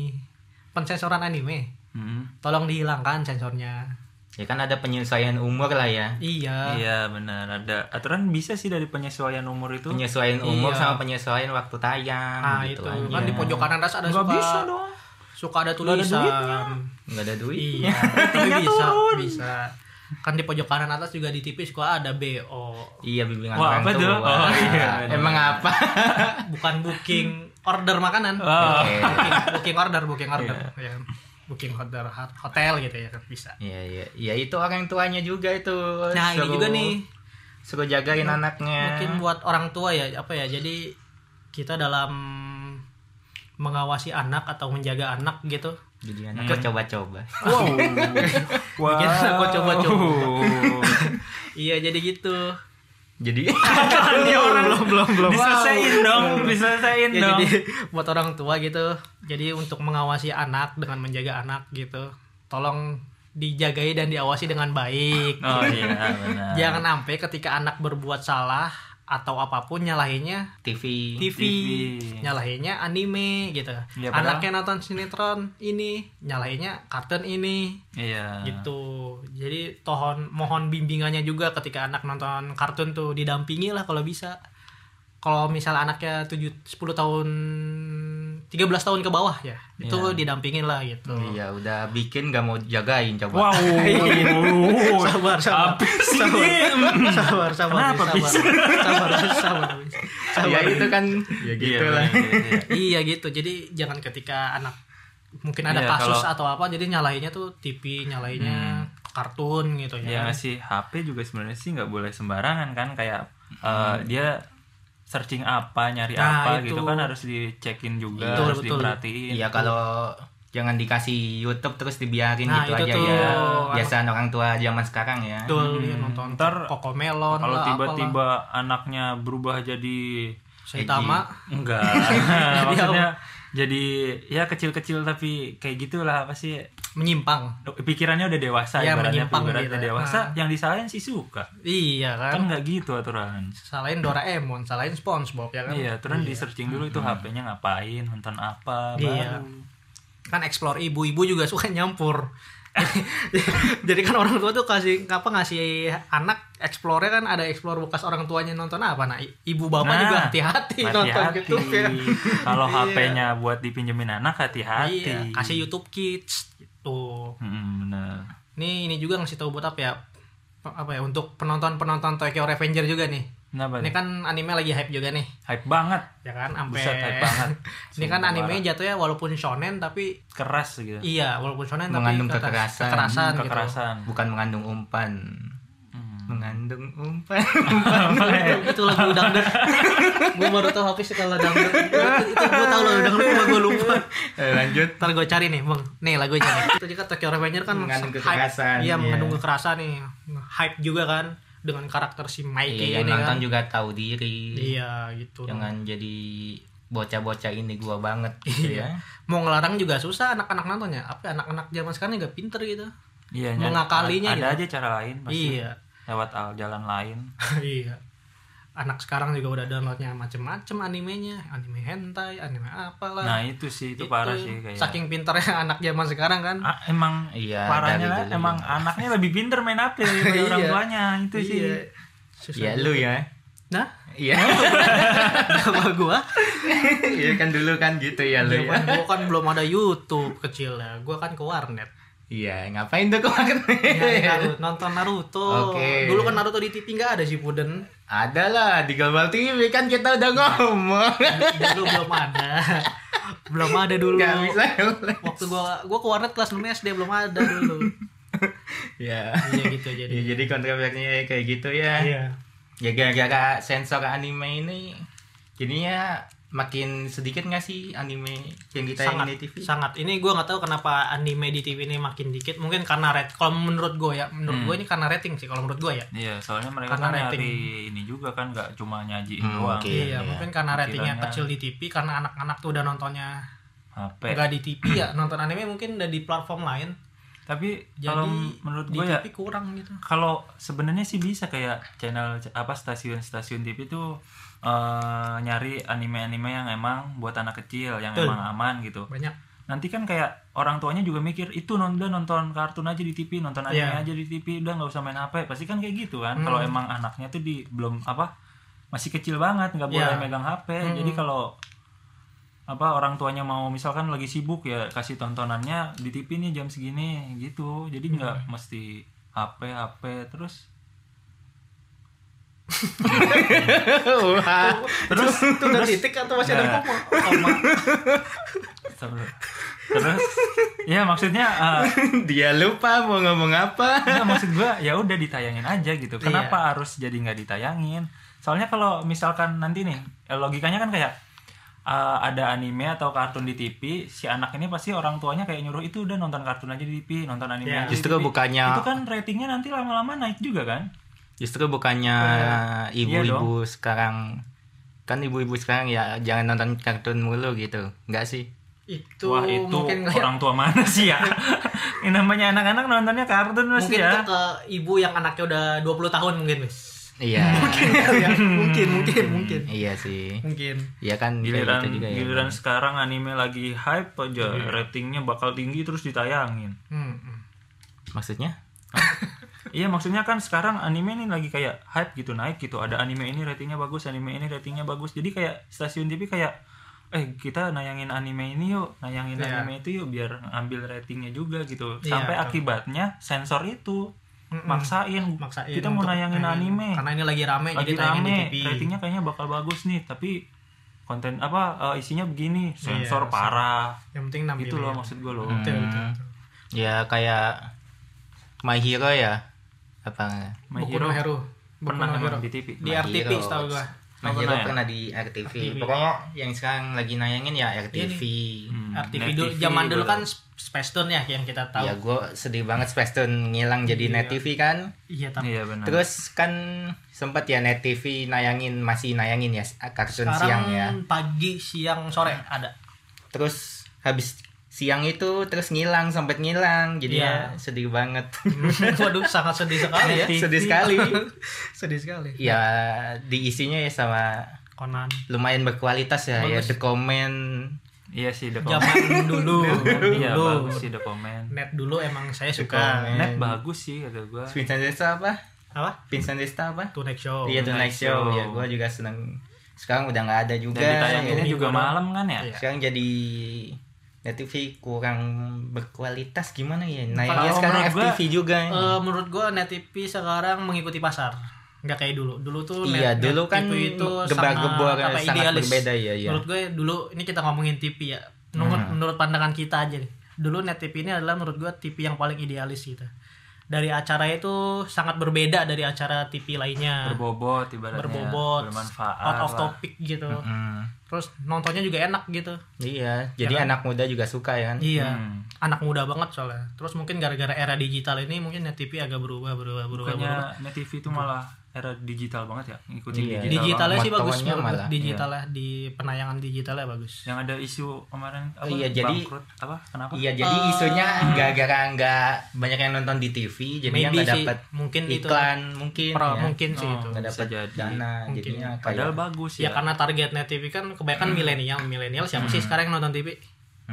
Speaker 1: pensensoran anime
Speaker 2: Hmm.
Speaker 1: tolong dihilangkan sensornya
Speaker 3: Ya kan ada penyesuaian umur lah ya.
Speaker 1: iya
Speaker 2: Iya, benar. Ada aturan bisa sih dari penyesuaian umur itu.
Speaker 3: Penyesuaian
Speaker 1: Iya.
Speaker 3: umur sama penyesuaian waktu tayang
Speaker 1: nah
Speaker 3: gitu
Speaker 1: itu
Speaker 3: aja.
Speaker 1: kan di pojok kanan atas ada
Speaker 2: Nggak
Speaker 1: suka
Speaker 2: bisa dong.
Speaker 1: suka ada
Speaker 2: Nggak ada
Speaker 1: tulisan
Speaker 2: duitnya.
Speaker 3: Nggak ada duit.
Speaker 2: [laughs]
Speaker 1: iya tapi bisa bisa kan di pojok kanan atas juga di TV suka ada BO
Speaker 3: [laughs] Iya bimbingan
Speaker 2: Wah,
Speaker 3: orang
Speaker 2: apa tuh?
Speaker 3: tua.
Speaker 2: Oh, iya.
Speaker 3: Emang apa?
Speaker 1: bukan booking order makanan
Speaker 2: Oh.
Speaker 3: Oke.
Speaker 1: booking, booking order booking order ya kan? booking order hot- hotel gitu ya kan bisa
Speaker 3: Iya iya. Ya itu orang tuanya juga itu.
Speaker 1: nah ini
Speaker 3: Suruh-
Speaker 1: juga nih
Speaker 3: Suruh jagain anaknya.
Speaker 1: mungkin buat orang tua ya apa ya jadi kita dalam mengawasi anak atau menjaga anak gitu
Speaker 3: Jadi anak kok coba-coba.
Speaker 2: Wow. Wow.
Speaker 1: Bikin [laughs] aku
Speaker 2: [laughs]
Speaker 1: coba-coba. iya jadi gitu
Speaker 3: Jadi
Speaker 2: belum belum belum. Diselesaiin dong, diselesaiin
Speaker 1: ya
Speaker 2: dong.
Speaker 1: jadi [laughs] buat orang tua gitu jadi untuk mengawasi anak dengan menjaga anak gitu tolong dijagai dan diawasi dengan baik
Speaker 2: Oh iya benar.
Speaker 1: Jangan sampai ketika anak berbuat salah atau apapun nyalahinnya
Speaker 3: TV.
Speaker 1: TV,
Speaker 2: TV.
Speaker 1: nyalahinnya anime gitu.
Speaker 2: Ya, padahal-
Speaker 1: Anaknya nonton sinetron ini, nyalahinnya kartun ini
Speaker 2: Iya.
Speaker 1: gitu. Jadi tohon mohon bimbingannya juga ketika anak nonton kartun tuh didampingi lah kalau bisa. Kalau misal anaknya 7 10 tahun 13 tahun ke bawah ya, itu
Speaker 2: Ya.
Speaker 1: didampingin lah gitu.
Speaker 3: Iya udah bikin gak mau jagain coba.
Speaker 2: Wow.
Speaker 1: [laughs] sabar sabar
Speaker 2: Apa sih Iya,
Speaker 1: sabar
Speaker 2: ini?
Speaker 1: sabar sabar
Speaker 2: Kenapa,
Speaker 1: sabar
Speaker 2: Bis?
Speaker 1: sabar sabar Bis.
Speaker 3: [laughs] Ya
Speaker 1: sabar
Speaker 3: itu kan ya
Speaker 2: Iya,
Speaker 3: gitu lah.
Speaker 2: benar, iya, iya.
Speaker 1: iya gitu jadi jangan ketika anak mungkin ada
Speaker 2: Iya,
Speaker 1: kasus
Speaker 2: kalau- Hmm.
Speaker 1: atau apa jadi nyalainnya tuh TV nyalainnya kartun gitu
Speaker 2: Ya
Speaker 1: ya, kan.
Speaker 2: ngasih HP juga sebenarnya sih nggak boleh sembarangan kan kayak eh, dia searching apa nyari
Speaker 1: Hmm. Nah,
Speaker 2: apa
Speaker 1: itu.
Speaker 2: gitu kan harus dicekin juga
Speaker 1: Betul,
Speaker 2: harus
Speaker 1: betul.
Speaker 2: diperhatiin.
Speaker 3: Iya kalau jangan dikasih YouTube terus dibiarin
Speaker 1: Nah,
Speaker 3: gitu
Speaker 1: itu
Speaker 3: aja
Speaker 1: tuh.
Speaker 3: ya. Biasaan orang tua zaman sekarang ya.
Speaker 1: betul ya, nonton
Speaker 2: Hmm. Ntar
Speaker 1: kokomelon
Speaker 2: Kalau
Speaker 1: lah, apalah.
Speaker 2: tiba-tiba anaknya berubah jadi
Speaker 1: Saitama [laughs]
Speaker 2: enggak
Speaker 1: Iya,
Speaker 2: [laughs] maksudnya jadi ya kecil-kecil tapi kayak gitulah apa sih
Speaker 1: menyimpang
Speaker 2: pikirannya udah dewasa
Speaker 1: Ya,
Speaker 2: ibaratnya
Speaker 1: menyimpang
Speaker 2: ibaratnya
Speaker 1: gitu ya.
Speaker 2: dewasa yang disalahin sih suka
Speaker 1: iya kan
Speaker 2: kan nggak gitu aturan
Speaker 1: salahin Doraemon salahin SpongeBob ya kan Hmm.
Speaker 2: iya aturan di searching dulu itu HP-nya ngapain nonton apa
Speaker 1: Iya.
Speaker 2: baru
Speaker 1: kan explore ibu-ibu juga suka nyampur [laughs] jadi kan orang tua tuh kasih apa ngasih anak explore kan ada explore bekas orang tuanya nonton apa nah i- ibu bapak
Speaker 2: Nah,
Speaker 1: juga hati-hati nonton
Speaker 2: hati-hati
Speaker 1: gitu ya
Speaker 2: [laughs] kalau
Speaker 1: Iya.
Speaker 2: HP-nya buat dipinjemin anak hati-hati
Speaker 1: iya kasih YouTube Kids gitu
Speaker 2: Mm, bener.
Speaker 1: nih ini juga ngasih tahu buat apa ya Pe- apa ya untuk penonton penonton Tokyo Revenger juga nih
Speaker 2: Kenapa
Speaker 1: ini
Speaker 2: nih?
Speaker 1: kan anime lagi hype juga nih
Speaker 2: hype banget
Speaker 1: ya kan sampai
Speaker 2: Buset, hype banget.
Speaker 1: [laughs] ini kan
Speaker 2: Sumpah
Speaker 1: anime jatuhnya walaupun shonen tapi
Speaker 2: keras gitu
Speaker 1: iya walaupun shonen tapi
Speaker 3: Mengandung
Speaker 1: kata-
Speaker 3: kekerasan.
Speaker 1: kekerasan, gitu.
Speaker 2: kekerasan
Speaker 3: Bukan mengandung umpan.
Speaker 2: Hmm.
Speaker 3: Mengandung umpan. [laughs]
Speaker 1: [laughs] ya?
Speaker 2: [laughs]
Speaker 1: itu lagu dangdut [laughs] gue baru tau Hafiz suka lagu
Speaker 2: [laughs]
Speaker 1: dangdut itu, itu gue tau lagu dangdut cuma gue lupa
Speaker 3: Eh, Lanjut.
Speaker 1: ntar gue cari nih bang nih lagunya nih [laughs] itu juga Tokyo Revenger kan
Speaker 3: Mengandung
Speaker 1: hype.
Speaker 3: kekerasan,
Speaker 1: iya
Speaker 3: iya.
Speaker 1: mengandung kekerasan nih hype juga kan dengan karakter si Mikey
Speaker 3: Iya,
Speaker 1: ini
Speaker 3: yang
Speaker 1: kan
Speaker 3: nonton juga tahu diri.
Speaker 1: iya gitu
Speaker 3: Jangan jadi bocah-bocah ini gua banget gitu ya.
Speaker 1: mau ngelarang juga susah anak-anak nontonnya apa ya, anak-anak zaman sekarang juga pinter gitu [laughs]
Speaker 2: iya nyari-
Speaker 1: Mengakalinya
Speaker 2: ada
Speaker 1: gitu.
Speaker 2: aja cara lain pasti
Speaker 1: iya
Speaker 2: lewat al- jalan lain
Speaker 1: iya anak sekarang juga udah downloadnya macem-macem animenya anime hentai anime apalah
Speaker 2: nah itu sih itu, parah sih kayak
Speaker 1: saking pinternya [laughs] anak zaman sekarang kan
Speaker 2: Ah, emang
Speaker 3: Iya,
Speaker 2: parahnya
Speaker 3: dari
Speaker 2: lah,
Speaker 3: dulu.
Speaker 2: emang
Speaker 1: [laughs]
Speaker 2: anaknya lebih pinter main HP daripada orang
Speaker 1: Iya.
Speaker 2: tuanya itu sih
Speaker 1: Iya. Susah.
Speaker 3: Ya lu ya.
Speaker 1: Nah, [laughs]
Speaker 3: Iya.
Speaker 1: Sama gua.
Speaker 3: Iya kan dulu kan gitu ya lu
Speaker 1: Zaman
Speaker 3: ya.
Speaker 1: gua
Speaker 3: [laughs]
Speaker 1: kan belum ada YouTube kecilnya. Gua kan ke warnet.
Speaker 3: Iya, ngapain tuh kemarin?
Speaker 1: Nyari Naruto, nonton Naruto.
Speaker 3: Oke.
Speaker 1: Dulu kan Naruto di TV nggak ada sih Puden.
Speaker 3: Ada lah di Global TV kan kita udah ngomong. [laughs]
Speaker 1: Dulu belum ada. belum ada dulu.
Speaker 3: Gak bisa.
Speaker 1: Waktu gua gua ke warnet kelas 6 SD belum ada dulu.
Speaker 3: Ya.
Speaker 1: Iya gitu Iya. jadi.
Speaker 3: Ya, jadi kontroversinya kayak gitu ya. Ya gara-gara sensor anime ini jadinya makin sedikit nggak sih anime yang kita yang
Speaker 1: sangat
Speaker 3: di TV?
Speaker 1: sangat ini gue nggak tahu kenapa anime di TV ini makin dikit mungkin karena red kalau menurut gue ya menurut
Speaker 3: Hmm.
Speaker 1: gue ini karena rating sih kalau menurut gue ya
Speaker 2: Iya, soalnya mereka
Speaker 1: Karena
Speaker 2: kan
Speaker 1: rating.
Speaker 2: nyari ini juga kan nggak cuma nyajiin
Speaker 3: Hmm,
Speaker 2: doang.
Speaker 3: oke.
Speaker 1: iya,
Speaker 3: Iya, iya.
Speaker 1: mungkin karena ratingnya
Speaker 2: Pikirannya.
Speaker 1: kecil di TV karena anak-anak tuh udah nontonnya
Speaker 2: HP.
Speaker 1: nggak di TV
Speaker 2: [clears throat]
Speaker 1: ya nonton anime mungkin udah di platform lain
Speaker 2: Tapi
Speaker 1: jadi
Speaker 2: kalau menurut
Speaker 1: di
Speaker 2: gue ya
Speaker 1: TV kurang gitu
Speaker 2: kalau sebenarnya sih bisa kayak channel apa stasiun-stasiun TV tuh eh, nyari anime-anime yang emang buat anak kecil, yang
Speaker 1: Betul.
Speaker 2: emang aman gitu.
Speaker 1: banyak
Speaker 2: Nanti kan kayak orang tuanya juga mikir itu non- udah nonton kartun aja di TV, nonton anime
Speaker 1: Iya. Hmm.
Speaker 2: aja di TV, udah nggak usah main HP. Pasti kan kayak gitu kan. Kalau emang anaknya tuh di belum apa masih kecil banget, nggak boleh
Speaker 1: Iya.
Speaker 2: megang HP. Jadi kalau apa orang tuanya mau misalkan lagi sibuk ya kasih tontonannya di TV nih jam segini gitu. Jadi nggak
Speaker 1: Hmm.
Speaker 2: mesti HP HP terus
Speaker 3: Oh, Wah.
Speaker 1: terus [laughs] itu udah titik atau masih ada
Speaker 2: Nah.
Speaker 1: koma koma
Speaker 2: terus terus ya maksudnya eh,
Speaker 3: [laughs] Dia lupa mau ngomong apa.
Speaker 2: Nggak, maksud gua ya udah ditayangin aja
Speaker 1: Iya.
Speaker 2: gitu. Kenapa harus jadi nggak ditayangin? Soalnya kalau misalkan nanti nih eh, logikanya kan kayak eh, ada anime atau kartun di TV, si anak ini pasti orang tuanya kayak nyuruh itu udah nonton kartun aja di TV, nonton anime
Speaker 1: Iya.
Speaker 2: aja. di
Speaker 3: Justru
Speaker 2: TV."
Speaker 3: bukannya-
Speaker 2: itu kan ratingnya nanti lama-lama naik juga kan?
Speaker 3: Justru bukannya ibu-ibu sekarang kan ibu-ibu sekarang ya jangan nonton kartun mulu gitu. Enggak sih?
Speaker 1: itu,
Speaker 2: Wah itu
Speaker 1: mungkin nggak-
Speaker 2: orang tua mana
Speaker 1: [laughs]
Speaker 2: sih ya? ini namanya anak-anak nontonnya kartun
Speaker 1: mungkin
Speaker 2: pasti
Speaker 1: itu
Speaker 2: ya.
Speaker 1: ke ibu yang anaknya udah 20 tahun mungkin
Speaker 2: [laughs]
Speaker 1: Miss.
Speaker 3: [laughs] Iya.
Speaker 1: mungkin kali ya. mungkin mungkin mungkin
Speaker 3: iya sih.
Speaker 1: mungkin
Speaker 3: Iya kan kayak
Speaker 2: Giliran
Speaker 3: gitu juga ya.
Speaker 2: giliran sekarang anime lagi hype aja,
Speaker 1: Iya.
Speaker 2: ratingnya bakal tinggi terus ditayangin.
Speaker 1: Hmm, hmm.
Speaker 3: Maksudnya?
Speaker 2: Iya maksudnya kan sekarang anime ini lagi kayak hype gitu naik gitu ada anime ini ratingnya bagus anime ini ratingnya bagus jadi kayak stasiun TV kayak eh kita nayangin anime ini yuk nayangin
Speaker 1: Iya.
Speaker 2: anime itu yuk biar ambil ratingnya juga gitu
Speaker 1: Iya,
Speaker 2: sampai
Speaker 1: betul.
Speaker 2: akibatnya sensor itu
Speaker 1: Mm-mm.
Speaker 2: maksain,
Speaker 1: maksain
Speaker 2: kita mau
Speaker 1: untuk
Speaker 2: nayangin anime
Speaker 1: karena ini lagi rame
Speaker 2: lagi
Speaker 1: jadi tayangin
Speaker 2: rame
Speaker 1: di TV
Speaker 2: ratingnya kayaknya bakal bagus nih tapi konten apa eh, isinya begini
Speaker 1: Iya,
Speaker 2: sensor parah
Speaker 1: yang penting nampilin
Speaker 2: gitu loh maksud gue loh
Speaker 1: Betul, betul,
Speaker 3: Hmm.
Speaker 1: betul.
Speaker 3: Ya kayak My Hero ya. Apa?
Speaker 2: My
Speaker 1: Boku
Speaker 2: Hero
Speaker 1: no Hero Boku
Speaker 2: pernah
Speaker 1: no Hero.
Speaker 2: emang di TV
Speaker 1: di
Speaker 3: My
Speaker 1: RTP
Speaker 3: Hero.
Speaker 1: setahu gua
Speaker 3: My
Speaker 2: Oh,
Speaker 3: Hero
Speaker 2: pernah ya?
Speaker 3: pernah di RTV. Pokoknya yang sekarang lagi nayangin ya
Speaker 1: Iya
Speaker 3: RTV.
Speaker 2: Hmm,
Speaker 1: RTP
Speaker 2: Net
Speaker 1: dulu
Speaker 2: TV
Speaker 1: zaman dulu
Speaker 2: dulu.
Speaker 1: kan Space Tune ya yang kita tahu
Speaker 2: Iya.
Speaker 3: Ya gue sedih banget Space Tune ngilang jadi Net TV kan.
Speaker 1: iya tapi
Speaker 2: iya benar
Speaker 3: Terus kan sempat ya Net TV nayangin masih nayangin ya kartun siang
Speaker 1: sekarang
Speaker 3: ya.
Speaker 1: pagi siang sore ada [laughs]
Speaker 3: Terus habis siang itu terus ngilang sempat ngilang. Jadi ya
Speaker 1: Iya.
Speaker 3: sedih
Speaker 1: [laughs]
Speaker 3: banget.
Speaker 1: waduh sangat sedih sekali ya
Speaker 3: [laughs] sedih sekali.
Speaker 1: [laughs] sedih sekali
Speaker 3: ya diisinya ya sama
Speaker 1: Conan
Speaker 3: lumayan berkualitas ya ya The Comment.
Speaker 2: iya sih the comment
Speaker 1: zaman dulu
Speaker 2: iya
Speaker 1: dulu
Speaker 2: bagus sih the comment
Speaker 1: net dulu emang saya suka
Speaker 3: Comment.
Speaker 2: Net bagus sih kata gua.
Speaker 3: Vincent Desta apa?
Speaker 1: apa
Speaker 3: Vincent Desta apa?
Speaker 1: Tonight Show
Speaker 2: Oh,
Speaker 3: Iya
Speaker 2: Tonight
Speaker 3: Tonight
Speaker 2: Show.
Speaker 3: Show. Ya gue juga seneng. Sekarang udah nggak ada juga.
Speaker 2: Dan ditayanginnya
Speaker 3: Ya.
Speaker 2: juga malam kan ya?
Speaker 1: Iya.
Speaker 3: Sekarang jadi Net TV kurang berkualitas gimana ya? Nah,
Speaker 2: Kalau
Speaker 3: ya sekarang
Speaker 2: menurut gua,
Speaker 3: FTV juga.
Speaker 1: Eh, menurut gua net TV sekarang mengikuti pasar nggak kayak dulu dulu tuh
Speaker 3: Iya,
Speaker 1: net,
Speaker 3: dulu
Speaker 1: net
Speaker 3: kan
Speaker 1: TV itu
Speaker 3: gebar-gebor
Speaker 1: sama apa,
Speaker 3: sangat
Speaker 1: idealis.
Speaker 3: berbeda, iya, iya. Hmm.
Speaker 1: menurut gue dulu ini kita ngomongin TV ya menurut, menurut pandangan kita aja nih dulu net TV ini adalah menurut gua TV yang paling idealis gitu dari acara itu sangat berbeda dari acara TV lainnya
Speaker 2: Berbobot ibaratnya.
Speaker 1: berbobot
Speaker 2: Iya, Bermanfaat.
Speaker 1: out of
Speaker 2: lah.
Speaker 1: topic gitu
Speaker 3: Hmm.
Speaker 1: terus nontonnya juga enak gitu
Speaker 3: Iya, jadi anak muda juga suka ya kan?
Speaker 1: Iya,
Speaker 2: Hmm.
Speaker 1: anak muda banget soalnya. Terus mungkin gara-gara era digital ini mungkin net TV agak berubah, berubah, berubah,
Speaker 2: Bukannya
Speaker 1: berubah.
Speaker 2: Net TV itu malah era digital banget ya? Ngikutin
Speaker 3: Iya.
Speaker 2: digital. iya.
Speaker 1: Digitalnya sih
Speaker 3: banget.
Speaker 1: bagus
Speaker 3: Motorannya
Speaker 1: menurut
Speaker 3: malah,
Speaker 1: digitalnya di penayangan digitalnya bagus.
Speaker 2: Yang ada isu kemarin apa?
Speaker 3: Iya, jadi-
Speaker 2: bangkrut apa? Kenapa?
Speaker 3: Iya, jadi isunya
Speaker 2: Eh.
Speaker 3: gara-gara nggak banyak yang nonton di TV, jadi
Speaker 1: Maybe
Speaker 3: nggak
Speaker 1: sih,
Speaker 3: dapat
Speaker 1: mungkin itu
Speaker 3: iklan mungkin
Speaker 1: Pro-
Speaker 3: ya.
Speaker 1: mungkin sih
Speaker 2: Oh.
Speaker 1: itu.
Speaker 3: nggak
Speaker 2: Bisa
Speaker 3: dapat
Speaker 2: jadi.
Speaker 3: dana,
Speaker 1: Mungkin.
Speaker 3: jadinya kayak
Speaker 2: Padahal bagus
Speaker 1: Ya
Speaker 2: ya.
Speaker 1: karena target net TV kan kebanyakan
Speaker 2: Hmm.
Speaker 1: milenial, milenial siapa sih sekarang yang nonton TV?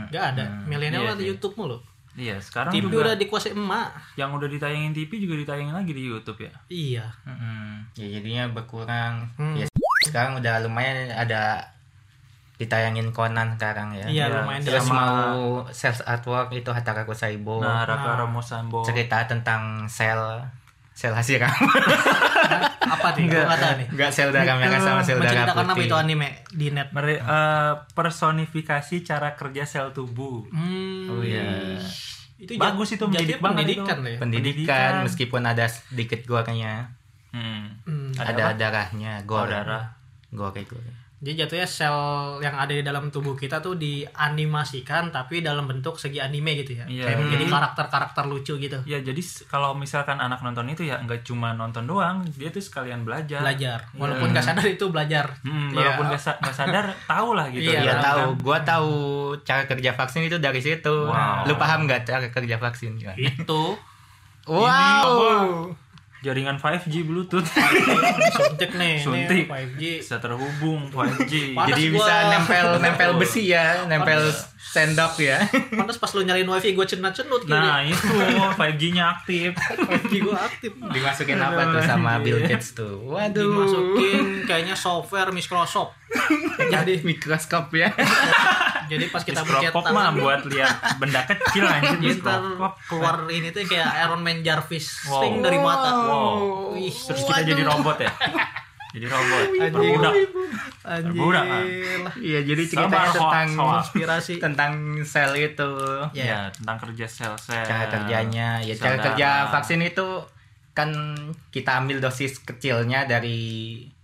Speaker 1: Gak ada. Milenial
Speaker 2: Iya
Speaker 1: ada
Speaker 2: sih.
Speaker 1: YouTube mulu.
Speaker 2: Iya, sekarang
Speaker 1: TV
Speaker 2: juga
Speaker 1: udah dikuasai emak.
Speaker 2: yang udah ditayangin TV juga ditayangin lagi di YouTube ya.
Speaker 1: Iya.
Speaker 3: Mm-mm. Ya jadinya berkurang.
Speaker 1: Hmm.
Speaker 3: Ya, sekarang udah lumayan ada ditayangin Conan sekarang ya.
Speaker 1: Iya,
Speaker 2: Iya.
Speaker 1: lumayan dia
Speaker 3: Terus
Speaker 2: sama-
Speaker 3: mau self artwork itu Hataraku Saibo.
Speaker 2: Nah,
Speaker 1: Nah.
Speaker 2: Raka Romo Sambo.
Speaker 3: cerita tentang sel sel hasil [laughs]
Speaker 1: apa nih? Gua nggak tahu nih.
Speaker 3: Enggak sel darah merah sama sel darah
Speaker 1: Menceritakan apa
Speaker 3: putih.
Speaker 1: itu anime di net?
Speaker 2: Mere- eh, personifikasi cara kerja sel tubuh.
Speaker 1: Hmm.
Speaker 3: Oh, iya.
Speaker 1: Itu
Speaker 2: Bagus itu, mendidik banget
Speaker 1: pendidikan
Speaker 2: itu.
Speaker 1: loh ya.
Speaker 3: Pendidikan,
Speaker 2: Pendidikan.
Speaker 3: meskipun ada sedikit gorengnya,
Speaker 2: Hmm.
Speaker 1: Hmm.
Speaker 2: Ada
Speaker 3: ada, darahnya,
Speaker 2: Oh,
Speaker 3: gore.
Speaker 2: darah.
Speaker 3: Gore, gore.
Speaker 1: Jadi jatuhnya sel yang ada di dalam tubuh kita tuh dianimasikan tapi dalam bentuk segi anime gitu ya.
Speaker 2: Iya.
Speaker 1: Kayak
Speaker 2: Hmm.
Speaker 1: menjadi karakter-karakter lucu gitu.
Speaker 2: Ya jadi s- kalau misalkan anak nonton itu ya nggak cuma nonton doang, dia tuh sekalian belajar.
Speaker 1: Belajar. Walaupun nggak sadar itu belajar.
Speaker 2: Iya. Hmm, walaupun nggak sa- nggak
Speaker 3: [laughs]
Speaker 2: sadar, tahu lah gitu.
Speaker 1: Iya,
Speaker 3: Iya
Speaker 2: Kan?
Speaker 3: tahu, gua tahu cara kerja vaksin itu dari situ.
Speaker 2: Wow.
Speaker 3: Lu paham nggak cara kerja vaksin?
Speaker 1: Iya,
Speaker 3: Wow.
Speaker 1: Itu
Speaker 2: Jaringan 5G Bluetooth
Speaker 1: suntik nih, Ini
Speaker 2: Suntik.
Speaker 1: 5G.
Speaker 2: [laughs] bisa terhubung 5G.
Speaker 1: Panas
Speaker 3: Jadi
Speaker 1: gua.
Speaker 3: bisa nempel nempel besi ya, nempel sendok
Speaker 1: [laughs]
Speaker 3: ya.
Speaker 1: Pantas pas lu nyariin wifi gue cenut-cenut gitu.
Speaker 2: Nah itu 5G-nya aktif.
Speaker 1: wifi gue aktif.
Speaker 3: Dimasukin apa tuh sama Bill Gates tuh? Waduh.
Speaker 1: Dimasukin kayaknya software Microsoft.
Speaker 3: [laughs] Jadi mikroskop ya.
Speaker 1: Jadi pas kita pencet
Speaker 2: Mikroskop mah
Speaker 1: tangan,
Speaker 2: buat lihat benda
Speaker 3: [laughs]
Speaker 2: kecil anjir
Speaker 1: ntar
Speaker 2: mikroskop.
Speaker 1: keluar ini tuh kayak Iron Man Jarvis,
Speaker 2: Wow.
Speaker 1: sting dari mata.
Speaker 3: Oh.
Speaker 2: Wow.
Speaker 1: Wih,
Speaker 2: Terus kita jadi robot ya. Jadi robot.
Speaker 1: Anjing.
Speaker 2: Perbudak. Terbudak, ah.
Speaker 1: Anjir. lah.
Speaker 3: Iya, jadi
Speaker 2: Sabar,
Speaker 3: ceritanya
Speaker 2: hoax,
Speaker 3: tentang
Speaker 2: hoax.
Speaker 1: Inspirasi.
Speaker 3: tentang sel itu.
Speaker 1: Ya.
Speaker 2: Ya, tentang kerja sel-sel.
Speaker 3: Iya. Cara kerjanya, ya cara
Speaker 2: Saudara.
Speaker 3: kerja vaksin itu kan kita ambil dosis kecilnya dari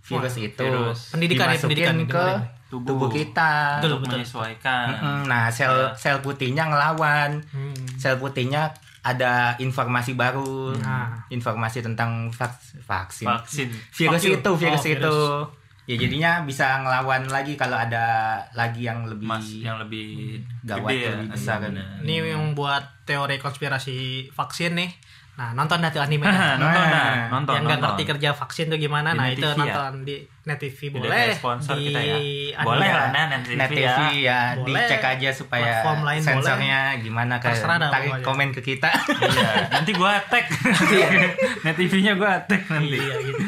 Speaker 3: virus
Speaker 1: Wah,
Speaker 3: itu.
Speaker 2: virus.
Speaker 1: Pendidikan ya,
Speaker 3: dimasukin
Speaker 1: pendidikan,
Speaker 3: ke
Speaker 1: dengerin.
Speaker 2: Tubuh.
Speaker 3: tubuh, kita.
Speaker 1: Betul,
Speaker 2: Untuk
Speaker 1: betul.
Speaker 2: menyesuaikan.
Speaker 3: Mm, Nah, sel
Speaker 1: Iya.
Speaker 2: Ya.
Speaker 3: sel putihnya ngelawan.
Speaker 1: Hmm.
Speaker 3: Sel putihnya ada informasi baru,
Speaker 1: Nah.
Speaker 3: informasi tentang vaks- vaksin.
Speaker 2: Vaksin.
Speaker 3: virus
Speaker 1: Vaksin.
Speaker 3: itu, virus
Speaker 1: Oh, virus.
Speaker 3: itu. Ya jadinya bisa ngelawan lagi kalau ada lagi yang lebih
Speaker 2: Mas yang lebih
Speaker 3: Gawat,
Speaker 2: gede ya.
Speaker 3: lebih
Speaker 2: besar
Speaker 3: gede.
Speaker 2: bener. [laughs]
Speaker 1: Ini yang buat teori konspirasi vaksin nih. Nah, nonton dah tuh anime.
Speaker 2: Nah, nonton
Speaker 3: Nah,
Speaker 2: nah, [laughs] nonton.
Speaker 1: yang nggak
Speaker 2: nonton.
Speaker 1: ngerti kan. kerja vaksin tuh gimana
Speaker 2: Di
Speaker 1: nah
Speaker 2: Net
Speaker 1: itu
Speaker 2: TV ya?
Speaker 1: nonton di net TV
Speaker 2: Udah
Speaker 1: boleh
Speaker 2: kayak sponsor
Speaker 1: di
Speaker 2: kita ya.
Speaker 1: anime
Speaker 2: Boleh
Speaker 1: ya.
Speaker 2: lah, Nan, Net TV
Speaker 3: anu
Speaker 2: ya.
Speaker 3: Net TV ya,
Speaker 1: Boleh.
Speaker 3: dicek aja supaya
Speaker 1: Platform lain
Speaker 3: sensornya gimana kan.
Speaker 1: Terserah dah
Speaker 3: Tarik
Speaker 1: pokoknya.
Speaker 3: komen ke kita. [laughs]
Speaker 2: Iya, nanti gua tag. [laughs] Net TV-nya gua tag nanti.
Speaker 1: iya gitu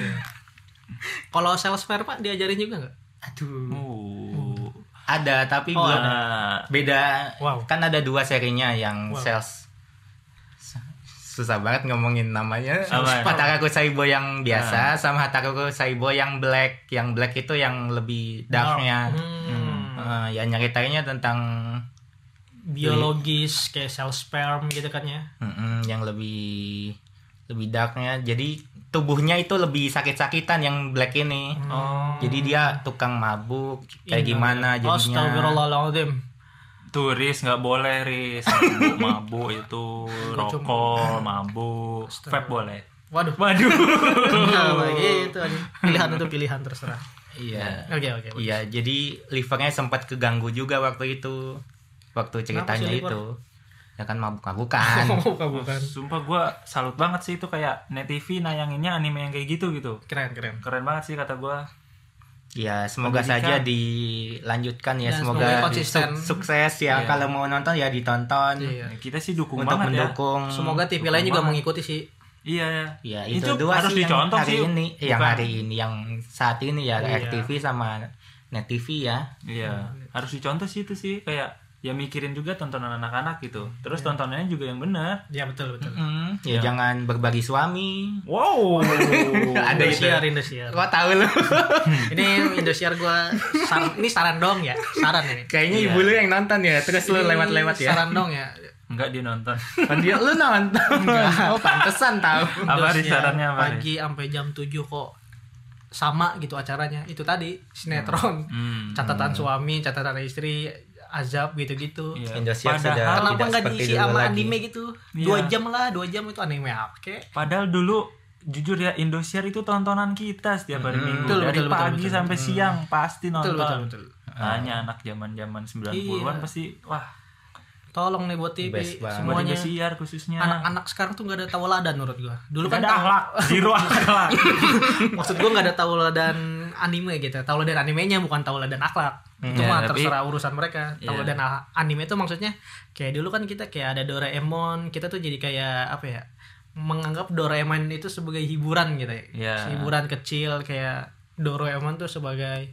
Speaker 1: kalau sales fair pak diajarin juga nggak
Speaker 3: Aduh.
Speaker 2: Uh.
Speaker 3: Ada tapi
Speaker 1: Oh,
Speaker 3: belum
Speaker 2: Nah,
Speaker 3: beda.
Speaker 1: Wow.
Speaker 3: Kan ada dua serinya yang
Speaker 1: Wow.
Speaker 3: sales susah banget ngomongin namanya
Speaker 2: Apa?
Speaker 3: Hataraku Saibo
Speaker 1: Nah.
Speaker 3: yang biasa sama Hataraku Saibo yang black yang black itu yang lebih darknya
Speaker 1: Hmm,
Speaker 3: Eh, ya nyeritainnya tentang
Speaker 1: biologis kayak sales sperm gitu kan ya
Speaker 3: Mm-mm, yang lebih lebih darknya. Jadi tubuhnya itu lebih sakit-sakitan yang black ini.
Speaker 1: Hmm.
Speaker 2: oh.
Speaker 3: Jadi dia tukang mabuk kayak
Speaker 1: Ini.
Speaker 3: gimana jadinya.
Speaker 1: Astagfirullahaladzim
Speaker 2: Turis nggak boleh ris mabuk itu rokok mabuk vape boleh
Speaker 1: waduh [laughs]
Speaker 2: waduh
Speaker 1: Kenapa gitu anjing? pilihan untuk pilihan terserah
Speaker 3: Iya.
Speaker 1: oke oke
Speaker 3: Iya, jadi livernya sempat keganggu juga waktu itu. Waktu
Speaker 1: Kenapa
Speaker 3: ceritanya
Speaker 1: sih liver?
Speaker 3: itu. Ya
Speaker 1: [laughs]
Speaker 3: kan mabuk-mabukan.
Speaker 1: bukan bukan
Speaker 2: sumpah gua salut banget sih itu kayak net TV nayanginnya anime yang kayak gitu gitu
Speaker 1: keren keren
Speaker 2: keren banget sih kata gua
Speaker 3: Ya, semoga saja
Speaker 2: Pendidikan.
Speaker 3: dilanjutkan ya.
Speaker 1: Dan
Speaker 3: semoga
Speaker 1: semoga konsisten.
Speaker 3: su- sukses ya.
Speaker 2: Iya.
Speaker 3: Kalau mau nonton ya ditonton.
Speaker 1: iya
Speaker 2: kita sih dukung
Speaker 3: Untuk
Speaker 2: banget ya
Speaker 3: mendukung
Speaker 1: semoga TV lain juga mengikuti sih
Speaker 2: iya ya
Speaker 3: Ya itu, dua
Speaker 2: harus
Speaker 3: sih yang
Speaker 2: dicontoh
Speaker 3: hari
Speaker 2: sih Iya kan?
Speaker 3: ini, yang
Speaker 2: Bukan.
Speaker 3: hari ini, yang saat ini ya
Speaker 1: Iya.
Speaker 3: RTV sama Net TV ya.
Speaker 2: iya harus dicontoh sih itu sih kayak ya mikirin juga tontonan anak-anak gitu
Speaker 1: Iya.
Speaker 2: terus tontonannya juga yang benar
Speaker 1: ya betul betul
Speaker 3: Mm, ya jangan berbagi suami.
Speaker 1: [laughs]
Speaker 2: wow
Speaker 3: Ada gitu.
Speaker 1: Indosiar Indosiar
Speaker 3: Gua tahu [laughs] lu.
Speaker 1: [laughs] ini Indosiar gua saran, ini saran dong ya saran ini
Speaker 3: Kayaknya ibu lu yang nonton ya, terus lu
Speaker 1: Ini
Speaker 3: lewat-lewat ya.
Speaker 1: saran dong ya
Speaker 2: nggak dia nonton [laughs]
Speaker 3: Oh, dia lu nonton. [laughs] Oh, pantesan tahu.
Speaker 2: apa
Speaker 1: Terus
Speaker 2: Riz,
Speaker 1: ya,
Speaker 2: sarannya apa Riz?
Speaker 1: pagi sampai jam 7 kok sama gitu acaranya itu tadi sinetron
Speaker 2: Hmm.
Speaker 1: catatan suami catatan istri azab gitu-gitu
Speaker 2: Iya. Padahal-
Speaker 3: Indosiar sudah
Speaker 1: Ah, kenapa
Speaker 3: Tidak
Speaker 1: nggak
Speaker 3: seperti
Speaker 1: diisi
Speaker 3: dulu
Speaker 1: sama
Speaker 3: lagi.
Speaker 1: anime gitu
Speaker 2: Iya.
Speaker 1: dua jam lah dua jam itu anime apa kek
Speaker 2: Padahal dulu jujur ya Indosiar itu tontonan kita setiap hari
Speaker 1: Hmm.
Speaker 2: minggu
Speaker 1: Betul,
Speaker 2: dari
Speaker 1: betul, betul,
Speaker 2: pagi
Speaker 1: betul, Hmm.
Speaker 2: sampai siang pasti nonton.
Speaker 1: betul betul betul
Speaker 2: Hanya anak zaman-zaman
Speaker 1: Iya.
Speaker 2: 90-an pasti wah
Speaker 1: tolong nih buat TV
Speaker 3: Best banget.
Speaker 2: buat
Speaker 1: semuanya
Speaker 2: Indosiar khususnya
Speaker 1: anak-anak sekarang tuh nggak ada tawaladan menurut gua dulu
Speaker 2: Nggak
Speaker 1: kan
Speaker 2: ada
Speaker 1: tahu-
Speaker 2: akhlak, zero akhlak.
Speaker 1: [laughs] maksud gua nggak ada tauladan anime gitu tauladan animenya bukan tauladan akhlak itu
Speaker 2: Iya,
Speaker 1: mah
Speaker 2: tapi-
Speaker 1: terserah urusan mereka
Speaker 2: Iya.
Speaker 1: tauladan a- anime itu maksudnya kayak dulu kan kita kayak ada Doraemon kita tuh jadi kayak apa ya menganggap Doraemon itu sebagai hiburan gitu ya
Speaker 2: Iya.
Speaker 1: hiburan kecil kayak Doraemon tuh sebagai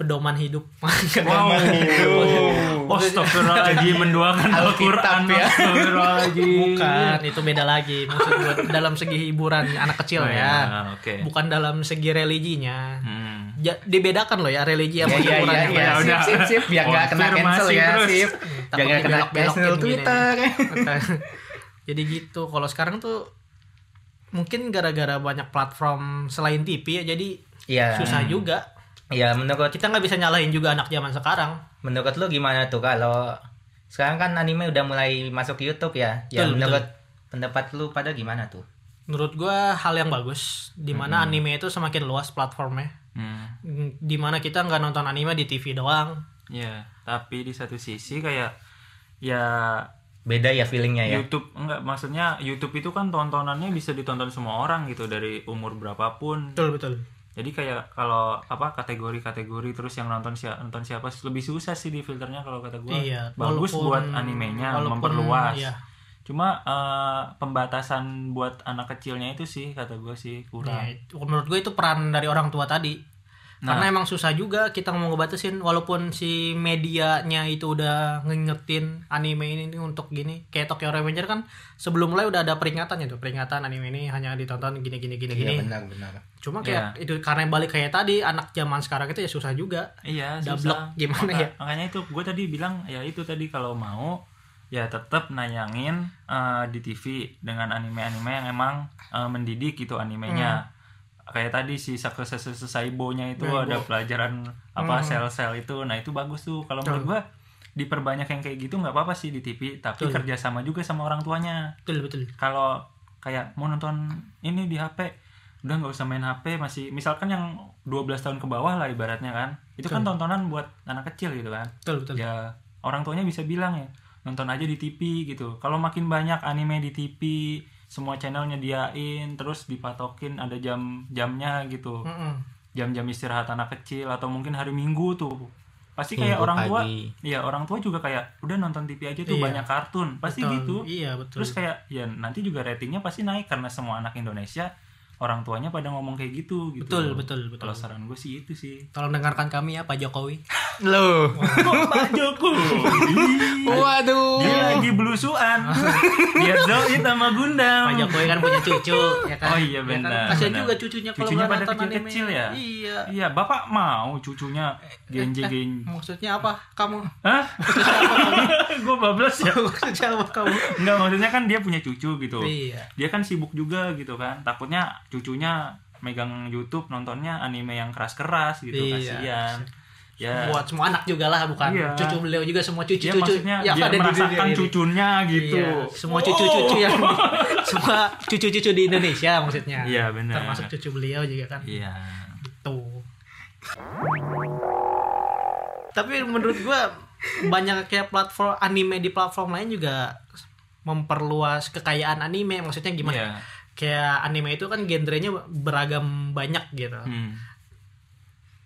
Speaker 1: pedoman hidup. [laughs]
Speaker 2: Wow.
Speaker 3: Aduh.
Speaker 2: Astagfirullahaladzim menduakan Al-Quran
Speaker 3: ya.
Speaker 2: Astagfirullahaladzim.
Speaker 1: Bukan, itu beda lagi. Maksud gue dalam segi hiburan anak kecil
Speaker 2: Oh,
Speaker 1: ya.
Speaker 2: ya, Oke.
Speaker 1: Bukan dalam segi religinya.
Speaker 2: Hmm.
Speaker 1: Ja- dibedakan loh ya religi
Speaker 3: Iya
Speaker 1: sama
Speaker 3: iya
Speaker 1: hiburan
Speaker 3: iya
Speaker 1: yang
Speaker 3: iya.
Speaker 1: lain.
Speaker 2: udah.
Speaker 3: Sip sip sip biar nggak kena
Speaker 2: Konfirmasi
Speaker 3: cancel ya
Speaker 2: terus.
Speaker 3: sip.
Speaker 1: Takut
Speaker 3: Jangan kena
Speaker 1: dibelok-belokin gitu
Speaker 3: cancel kan.
Speaker 1: gini.
Speaker 3: Twitter.
Speaker 1: [laughs] Jadi gitu. Kalau sekarang tuh mungkin gara-gara banyak platform selain TV ya jadi
Speaker 3: Iya.
Speaker 1: susah juga.
Speaker 3: Iya menurut
Speaker 1: Kita nggak bisa nyalahin juga anak zaman sekarang.
Speaker 3: menurut lu gimana tuh kalau sekarang kan anime udah mulai masuk YouTube ya. Ya
Speaker 1: Betul,
Speaker 3: menurut pendapat lu pada gimana tuh?
Speaker 1: Menurut gua hal yang bagus dimana anime itu semakin luas platformnya.
Speaker 2: Hmm.
Speaker 1: Mm, Dimana kita nggak nonton anime di TV doang.
Speaker 2: Ya, tapi di satu sisi kayak ya
Speaker 3: Beda ya feelingnya
Speaker 1: Iya,
Speaker 3: ya.
Speaker 2: YouTube enggak maksudnya YouTube itu kan tontonannya bisa ditonton semua orang gitu dari umur berapapun.
Speaker 1: Betul betul.
Speaker 2: Jadi kayak kalau apa kategori-kategori terus yang nonton siapa nonton siapa lebih susah sih di filternya kalau kata gue.
Speaker 1: Iya,
Speaker 2: Bagus
Speaker 1: walaupun-
Speaker 2: buat animenya
Speaker 1: walaupun,
Speaker 2: memperluas.
Speaker 1: iya.
Speaker 2: Cuma eh, pembatasan buat anak kecilnya itu sih kata gue sih
Speaker 1: Nah,
Speaker 2: kurang.
Speaker 1: itu- menurut gue itu peran dari orang tua tadi.
Speaker 2: Nah.
Speaker 1: Karena emang susah juga kita mau ngebatasin walaupun si medianya itu udah ngingetin anime ini nih untuk gini. Kayak Tokyo Revenger kan sebelum mulai udah ada peringatannya tuh, peringatan anime ini hanya ditonton gini gini gini gini.
Speaker 3: Iya benar benar.
Speaker 1: Cuma kayak itu karena balik kayak tadi anak zaman sekarang itu ya susah juga.
Speaker 2: Iya, susah.
Speaker 1: Double gimana
Speaker 2: Maka-
Speaker 1: ya?
Speaker 2: Makanya itu gue tadi bilang ya itu tadi kalau mau ya tetap nayangin eh, di TV dengan anime-anime yang emang eh, mendidik gitu animenya.
Speaker 1: Hmm.
Speaker 2: Kayak tadi si Sakusese Saibo-nya itu
Speaker 1: Saibo.
Speaker 2: ada pelajaran
Speaker 1: Hmm.
Speaker 2: apa sel-sel itu. Nah, itu bagus tuh kalau menurut gue diperbanyak yang kayak gitu nggak apa-apa sih di TV tapi
Speaker 1: Betul.
Speaker 2: kerjasama juga sama orang tuanya
Speaker 1: Betul betul.
Speaker 2: kalau kayak mau nonton ini di HP udah nggak usah main HP masih misalkan yang 12 tahun ke bawah lah ibaratnya kan itu kan tontonan buat anak kecil gitu kan
Speaker 1: Betul betul.
Speaker 2: ya orang tuanya bisa bilang ya nonton aja di TV gitu kalau makin banyak anime di TV semua channel nyediain terus dipatokin ada jam jamnya gitu
Speaker 1: Mm-mm.
Speaker 2: jam-jam istirahat anak kecil atau mungkin hari Minggu tuh pasti kayak
Speaker 3: Minggu
Speaker 2: orang tua
Speaker 3: pagi.
Speaker 2: iya orang tua juga kayak udah nonton TV aja tuh
Speaker 1: Iya.
Speaker 2: banyak kartun pasti
Speaker 1: Betul.
Speaker 2: gitu
Speaker 1: Iya betul.
Speaker 2: Terus kayak ya nanti juga ratingnya pasti naik karena semua anak Indonesia orang tuanya pada ngomong kayak gitu gitu.
Speaker 1: betul betul betul.
Speaker 2: Kalau saran gue sih itu
Speaker 1: [laughs]
Speaker 2: sih.
Speaker 1: Tolong dengarkan kami ya Pak Jokowi.
Speaker 3: Loh.
Speaker 2: Pak [laughs] Jokowi.
Speaker 3: Waduh.
Speaker 2: Oh, iya. Dia lagi
Speaker 1: [laughs]
Speaker 2: belusuan. Dia zoit sama
Speaker 1: Pak
Speaker 2: Gundam.
Speaker 1: Jokowi kan punya cucu ya kan.
Speaker 2: Oh
Speaker 1: Ya
Speaker 2: iya
Speaker 1: kan?
Speaker 2: benar.
Speaker 1: Kasihan
Speaker 2: benar.
Speaker 1: juga cucunya kalau
Speaker 2: Cucunya
Speaker 1: nggak
Speaker 2: pada
Speaker 1: nonton anime.
Speaker 2: kecil-kecil ya?
Speaker 1: Iya.
Speaker 2: Iya, Bapak mau cucunya genjegin.
Speaker 1: [laughs]
Speaker 2: [laughs]
Speaker 1: Maksudnya apa kamu?
Speaker 2: Hah? gue bablas ya.
Speaker 1: [laughs] Maksudnya apa kamu?
Speaker 2: Enggak, maksudnya kan dia punya cucu gitu.
Speaker 1: Iya.
Speaker 2: dia kan sibuk juga gitu kan takutnya cucunya megang YouTube nontonnya anime yang keras-keras gitu
Speaker 1: Iya.
Speaker 2: kasihan ya
Speaker 1: Buat semua anak juga lah bukan.
Speaker 2: Iya.
Speaker 1: Cucu beliau juga semua
Speaker 2: dia
Speaker 1: cucu-cucu
Speaker 2: Iya, maksudnya
Speaker 1: yang
Speaker 2: biar
Speaker 1: ada di dunia
Speaker 2: merasakan
Speaker 1: ini.
Speaker 2: cucunya gitu
Speaker 1: Iya. Semua cucu-cucu yang [laughs] semua cucu-cucu di Indonesia maksudnya.
Speaker 2: Iya, benar.
Speaker 1: Termasuk cucu beliau juga kan.
Speaker 2: iya
Speaker 1: Tuh. Tapi menurut gua banyak kayak platform anime di platform lain juga memperluas kekayaan anime maksudnya gimana
Speaker 2: Iya.
Speaker 1: kayak anime itu kan genrenya beragam banyak gitu.
Speaker 2: Hmm.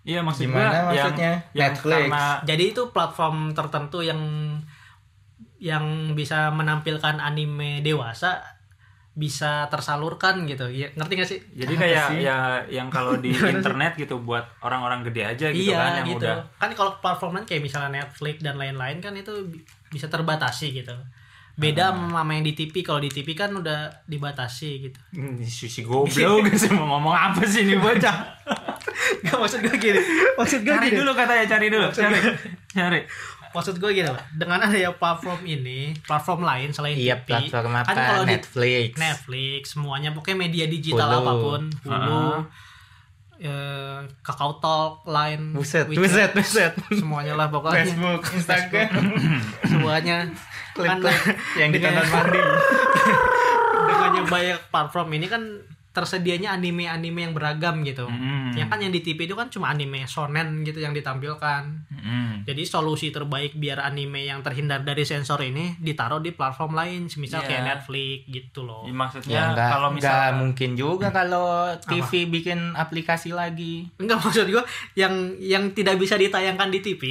Speaker 2: Iya maksud
Speaker 3: Gimana
Speaker 2: gua yang-
Speaker 3: maksudnya?
Speaker 2: yang,
Speaker 3: Netflix.
Speaker 2: karena
Speaker 1: Jadi itu platform tertentu yang yang bisa menampilkan anime dewasa bisa tersalurkan gitu. Ya, ngerti gak sih?
Speaker 2: jadi
Speaker 3: Apa
Speaker 2: kayak
Speaker 3: sih?
Speaker 2: ya yang kalau
Speaker 3: [laughs]
Speaker 2: di internet gitu buat orang-orang gede aja gitu
Speaker 1: iya
Speaker 2: kan yang
Speaker 1: gitu.
Speaker 2: udah
Speaker 1: Kan kalau platform lain kayak misalnya Netflix dan lain-lain kan itu bi- bisa terbatasi gitu. Beda sama yang di TV. Kalau di TV kan udah dibatasi gitu.
Speaker 2: Hmm, sushi
Speaker 1: [laughs]
Speaker 2: goblok sih mau ngomong apa sih ini bocah
Speaker 1: Gak maksud gue gini. Maksud gue
Speaker 2: cari
Speaker 1: gini.
Speaker 2: dulu katanya cari dulu cari
Speaker 1: [laughs]
Speaker 2: cari
Speaker 1: Maksud gue gini, Pak. Dengan adanya platform ini, platform lain selain
Speaker 3: Iya
Speaker 1: TV,
Speaker 3: platform
Speaker 1: kan kalau
Speaker 3: apa?
Speaker 1: di
Speaker 3: Netflix.
Speaker 1: Netflix, semuanya pokoknya media digital
Speaker 3: Hulu.
Speaker 1: apapun, Hulu,
Speaker 2: Ah.
Speaker 1: eh, Kakao Talk, Line,
Speaker 3: Buset,
Speaker 1: Wechat,
Speaker 3: buset, buset.
Speaker 1: semuanya lah pokoknya,
Speaker 3: Facebook,
Speaker 1: [laughs]
Speaker 3: Instagram, [laughs] Iya.
Speaker 1: semuanya kan
Speaker 3: klik-klik yang
Speaker 1: dengan-
Speaker 3: ditonton mandi.
Speaker 1: dengannya banyak platform ini kan tersedianya anime-anime yang beragam gitu.
Speaker 2: Mm.
Speaker 1: Ya kan yang di TV itu kan cuma anime shonen gitu yang ditampilkan.
Speaker 2: Hmm.
Speaker 1: Jadi solusi terbaik biar anime yang terhindar dari sensor ini ditaruh di platform lain, misal
Speaker 2: Iya.
Speaker 1: kayak Netflix gitu loh.
Speaker 2: Ya, maksudnya
Speaker 3: Ya, nggak
Speaker 2: kalau
Speaker 3: nggak
Speaker 2: misalnya
Speaker 3: mungkin juga kalau TV bikin aplikasi lagi.
Speaker 1: Enggak [laughs] maksud gua yang yang tidak bisa ditayangkan di TV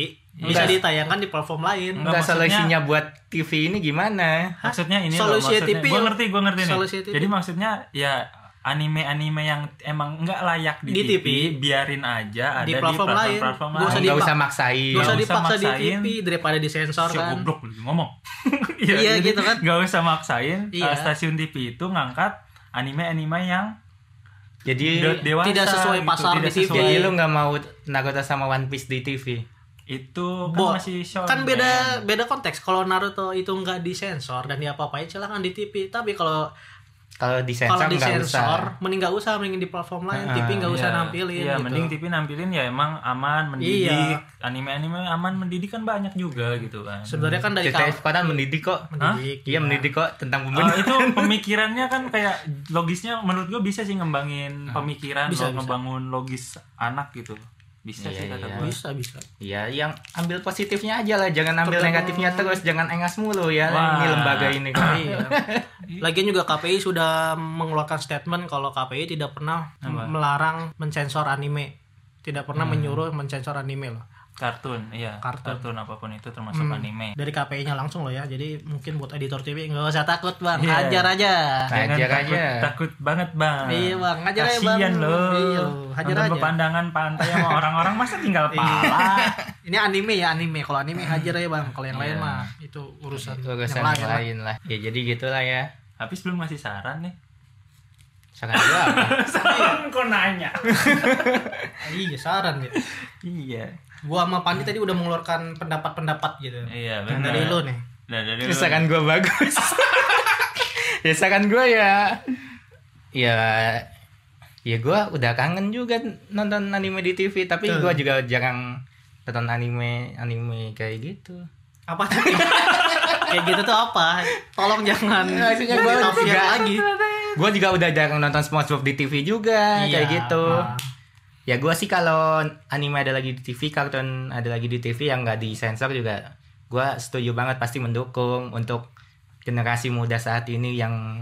Speaker 1: bisa
Speaker 3: Enggak.
Speaker 1: ditayangkan di platform lain.
Speaker 2: Iya. Enggak,
Speaker 3: Enggak
Speaker 2: maksudnya-
Speaker 3: solusinya buat TV ini gimana?
Speaker 2: maksudnya ini
Speaker 1: Solusi
Speaker 2: loh, maksudnya
Speaker 1: TV
Speaker 2: gue
Speaker 1: yang-
Speaker 2: ngerti gue ngerti nih
Speaker 1: solusi TV.
Speaker 2: jadi maksudnya ya anime-anime yang emang nggak layak di,
Speaker 1: Di
Speaker 2: TV,
Speaker 1: TV.
Speaker 2: biarin aja ada
Speaker 1: Di
Speaker 2: di
Speaker 1: platform
Speaker 2: platform-platform
Speaker 1: lain. Nggak
Speaker 2: lain.
Speaker 1: usah
Speaker 3: nggak
Speaker 1: dipak-
Speaker 3: usah maksain
Speaker 1: Nggak usah
Speaker 2: Nggak usah
Speaker 1: dipaksa di
Speaker 2: maksain.
Speaker 1: TV daripada disensor
Speaker 2: Si
Speaker 1: kan.
Speaker 2: goblok lagi
Speaker 1: [laughs]
Speaker 2: ngomong.
Speaker 1: Iya,
Speaker 2: jadi
Speaker 1: gitu kan.
Speaker 2: Nggak usah maksain.
Speaker 1: Iya.
Speaker 2: eh, stasiun TV itu ngangkat anime-anime yang
Speaker 3: jadi
Speaker 2: de- dewasa
Speaker 1: Tidak sesuai
Speaker 2: gitu,
Speaker 1: pasar di
Speaker 2: tidak
Speaker 1: TV.
Speaker 2: sesuai.
Speaker 1: Iya.
Speaker 3: jadi lu nggak mau Naruto sama One Piece di TV
Speaker 2: Itu kan
Speaker 1: Bo-
Speaker 2: masih shonen.
Speaker 1: kan beda beda konteks. Kalau Naruto itu nggak disensor dan diapa-apain silahkan di TV. Tapi kalau
Speaker 3: kalau
Speaker 1: kalau
Speaker 3: disensor nggak usah
Speaker 1: disensor mending nggak usah, mending di platform lain.
Speaker 3: Ah,
Speaker 1: TV nggak usah
Speaker 2: Iya.
Speaker 1: nampilin.
Speaker 2: Iya,
Speaker 1: gitu.
Speaker 2: mending TV nampilin ya emang aman, mendidik.
Speaker 1: Iya.
Speaker 2: Anime-anime aman, mendidik kan banyak juga gitu kan.
Speaker 1: Sebenarnya kan dari
Speaker 3: cerita
Speaker 1: kaw-
Speaker 3: sekolah mendidik kok
Speaker 1: mendidik.
Speaker 3: iya mendidik kok tentang
Speaker 1: Oh.
Speaker 2: Eh,
Speaker 3: pembunuh
Speaker 2: itu pemikirannya kan kayak logisnya menurut gue bisa sih ngembangin pemikiran
Speaker 1: Nah, Bisa,
Speaker 2: lo
Speaker 1: bisa.
Speaker 2: ngebangun logis anak gitu bisa
Speaker 3: Iya,
Speaker 2: sih kata
Speaker 3: iya.
Speaker 2: gue
Speaker 1: Bisa bisa.
Speaker 3: Iya, yang ambil positifnya aja lah, jangan ambil negatifnya terus, jangan engas mulu ya.
Speaker 2: Wah.
Speaker 3: Ini lembaga ini kok.
Speaker 1: Iya. Lagian juga KPI sudah mengeluarkan statement kalau KPI tidak pernah
Speaker 2: Apa?
Speaker 1: melarang mensensor anime. Tidak pernah
Speaker 3: Hmm.
Speaker 1: menyuruh mensensor anime loh.
Speaker 2: kartun iya
Speaker 1: Kartun. Hmm.
Speaker 2: kartun. apapun itu termasuk anime
Speaker 1: Dari KPI-nya langsung loh ya. Jadi mungkin buat editor TV nggak usah takut, Bang.
Speaker 2: Iya.
Speaker 1: Hajar aja.
Speaker 2: Jangan
Speaker 3: Ajar
Speaker 2: takut,
Speaker 3: aja.
Speaker 2: takut banget bang
Speaker 1: Iya, Bang. Hajar aja, Bang.
Speaker 2: Kasian lo
Speaker 1: Iya, lo. Hajar
Speaker 2: Nonton
Speaker 1: aja. Iya.
Speaker 2: pepandangan pantai
Speaker 1: [laughs]
Speaker 2: sama orang-orang masa tinggal pala
Speaker 1: Ini anime ya, anime. Kalau anime hajar aja, Bang. Kalau yang lain mah itu urusan,
Speaker 3: Iya.
Speaker 1: yang
Speaker 3: Urusan
Speaker 1: lain.
Speaker 3: yang
Speaker 1: lah.
Speaker 3: lain lah. Ya jadi gitulah ya.
Speaker 2: habis belum ngasih saran nih
Speaker 3: Sangat [laughs] gua apa?
Speaker 2: saran kok nanya
Speaker 1: Iya, saran ya.
Speaker 2: iya
Speaker 1: Gua sama Pandi tadi udah mengeluarkan pendapat-pendapat gitu.
Speaker 2: iya
Speaker 1: Yang
Speaker 2: benar
Speaker 1: dari lu nih. kan?
Speaker 2: Nah,
Speaker 1: Iya.
Speaker 2: dari lu.
Speaker 3: Desakan gua bagus. [laughs] Desakan gua ya. Ya ya gua udah kangen juga nonton anime di TV, tapi
Speaker 1: Tuh.
Speaker 3: gua juga jarang nonton anime anime kayak gitu.
Speaker 1: Apa tuh? [laughs] Kayak gitu tuh apa? Tolong jangan
Speaker 3: Maksudnya gua
Speaker 1: ditafsir
Speaker 3: juga-
Speaker 1: lagi.
Speaker 3: Gua juga udah jarang nonton SpongeBob di TV juga kayak
Speaker 1: Iya,
Speaker 3: gitu.
Speaker 1: nah.
Speaker 3: Ya gua sih kalau anime ada lagi di TV, kartun ada lagi di TV yang nggak disensor juga gua setuju banget pasti mendukung untuk generasi muda saat ini yang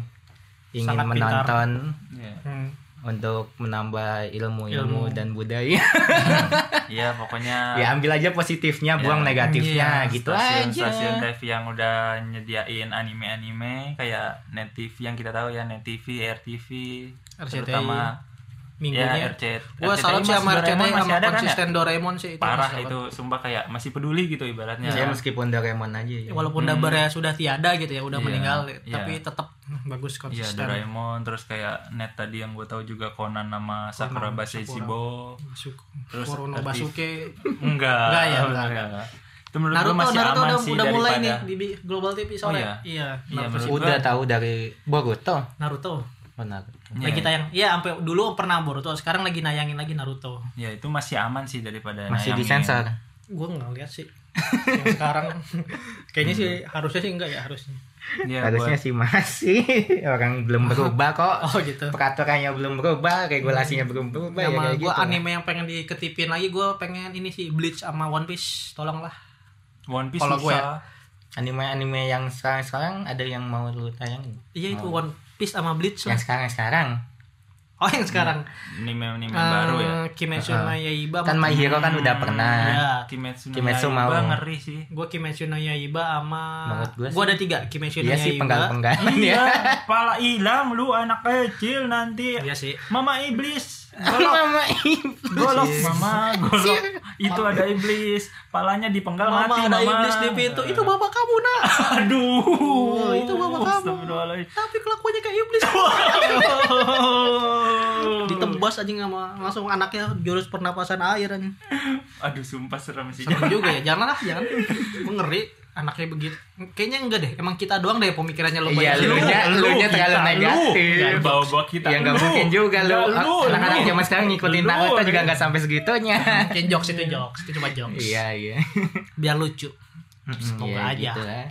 Speaker 3: ingin
Speaker 1: Sangat pintar.
Speaker 3: menonton
Speaker 2: Iya.
Speaker 1: Hmm.
Speaker 3: untuk menambah
Speaker 1: Ilmu. Ah.
Speaker 3: ilmu-ilmu dan budaya.
Speaker 2: iya pokoknya
Speaker 3: [laughs] ya ambil aja positifnya, buang
Speaker 2: Ya.
Speaker 3: negatifnya
Speaker 1: Iya,
Speaker 3: gitu
Speaker 2: stasiun,
Speaker 3: aja.
Speaker 2: stasiun TV yang udah nyediain anime-anime kayak Net TV yang kita tahu ya Net TV, RTV,
Speaker 1: RCTI.
Speaker 2: terutama
Speaker 1: Minggunya.
Speaker 2: ya RCT.
Speaker 1: Gua salut sih sama RCTI sama konsisten Doraemon sih itu.
Speaker 2: kan ya? Parah
Speaker 1: masih
Speaker 2: itu sumpah kayak masih peduli gitu ibaratnya.
Speaker 1: Iya,
Speaker 3: Ya meskipun Doraemon aja ya.
Speaker 1: salut. Walaupun dabarnya sudah tiada gitu ya, udah
Speaker 2: Hmm. Iya,
Speaker 1: meninggal,
Speaker 2: iya.
Speaker 1: tapi tetap bagus
Speaker 2: Iya
Speaker 1: konsisten.
Speaker 2: Doraemon terus kayak Net tadi yang gue tahu juga Conan nama Sakura
Speaker 1: Conan,
Speaker 2: Basesibo.
Speaker 1: Suku-
Speaker 2: Terus
Speaker 1: Kurono
Speaker 2: aktif.
Speaker 1: Basuke.
Speaker 2: Enggak.
Speaker 1: Enggak ya,
Speaker 2: enggak,
Speaker 1: enggak,
Speaker 2: enggak. Itu menurut gue
Speaker 1: Naruto,
Speaker 2: masih
Speaker 1: Naruto
Speaker 2: aman
Speaker 1: udah,
Speaker 2: sih
Speaker 1: udah mulai nih
Speaker 2: daripada
Speaker 1: di Bi- Global TV sore.
Speaker 2: Oh,
Speaker 1: iya.
Speaker 2: Iya,
Speaker 1: Naruto.
Speaker 2: menurut-
Speaker 3: Udah tahu dari Boruto.
Speaker 1: Naruto.
Speaker 3: Oh, Naruto.
Speaker 2: Iya,
Speaker 1: Lagi tayang. Iya, sampai dulu pernah Boruto, sekarang lagi nayangin lagi Naruto.
Speaker 2: Ya itu masih aman sih daripada
Speaker 1: Nah,
Speaker 3: Masih
Speaker 2: nayangin.
Speaker 3: disensor.
Speaker 1: Gue nggak lihat sih. Yang [laughs] sekarang kayaknya sih harusnya sih enggak ya harusnya.
Speaker 2: Iya,
Speaker 1: Ya,
Speaker 3: Harusnya sih masih [laughs] orang
Speaker 1: [laughs]
Speaker 3: belum berubah kok.
Speaker 1: Oh gitu.
Speaker 3: Peraturannya belum berubah, regulasinya belum berubah ya
Speaker 1: Sama
Speaker 3: kayak
Speaker 1: gue
Speaker 3: gitu.
Speaker 1: anime yang pengen diketipin lagi gue pengen ini sih Bleach sama One Piece tolonglah
Speaker 2: buat One Piece
Speaker 1: Kalau gue ya.
Speaker 2: susah.
Speaker 3: Anime-anime yang sekarang-sekarang ada yang mau lu tayangin?
Speaker 1: iya itu One Piece sama Bleach lah.
Speaker 3: Oh. Yang Hmm. sekarang-sekarang.
Speaker 1: oh yang sekarang Eh,
Speaker 2: anime-anime baru ya.
Speaker 1: Kimetsu no Yaiba
Speaker 3: Kan My Hero kan udah pernah.
Speaker 1: Iya.
Speaker 2: Kimetsu, no
Speaker 3: Kimetsu
Speaker 2: Yaiba
Speaker 3: mau.
Speaker 2: ngeri sih.
Speaker 1: gue Kimetsu no Yaiba sama
Speaker 3: Menurut gua
Speaker 1: gue
Speaker 3: sih-
Speaker 1: ada tiga Kimetsu no
Speaker 3: Iya sih
Speaker 1: Yaiba [laughs]
Speaker 3: penggal-penggalan
Speaker 2: Iya,
Speaker 3: ya.
Speaker 2: kepala hilang lu anak kecil nanti.
Speaker 1: iya sih
Speaker 2: Mama iblis. Golok,
Speaker 3: [laughs] Mama
Speaker 2: golok
Speaker 3: Iya.
Speaker 2: mama, golok. Itu ada iblis. Palanya dipenggal
Speaker 1: Mama
Speaker 2: mati
Speaker 1: ada
Speaker 2: mama.
Speaker 1: iblis di pintu itu bapak kamu nak
Speaker 2: Aduh.
Speaker 1: Oh, itu bapak kamu.
Speaker 2: Astagfirullahaladzim.
Speaker 1: tapi kelakuannya kayak [laughs] iblis ditebas aja sama langsung anaknya jurus pernapasan air anjing.
Speaker 2: Aduh, sumpah serem sih.
Speaker 1: Serem juga ya, jangan lah, jangan. Gue ngeri anaknya begitu. Kayaknya enggak deh, emang kita doang deh pemikirannya lo
Speaker 3: Iya, lu nya, lu nya terlalu
Speaker 2: kita,
Speaker 3: negatif.
Speaker 2: Jangan bawa-bawa kita.
Speaker 3: Ya nggak
Speaker 2: Lu.
Speaker 3: mungkin juga
Speaker 2: Ya,
Speaker 3: lu.
Speaker 2: lu,
Speaker 3: Anak-anak
Speaker 2: lu.
Speaker 3: zaman sekarang ngikutin
Speaker 2: Lu.
Speaker 3: Naruto
Speaker 1: kan?
Speaker 3: juga nggak sampai segitunya.
Speaker 1: Kayak jokes itu jokes, itu cuma jokes.
Speaker 3: Iya, iya.
Speaker 1: Biar lucu.
Speaker 3: Iya,
Speaker 1: Hmm. Semoga aja.
Speaker 3: gitu lah.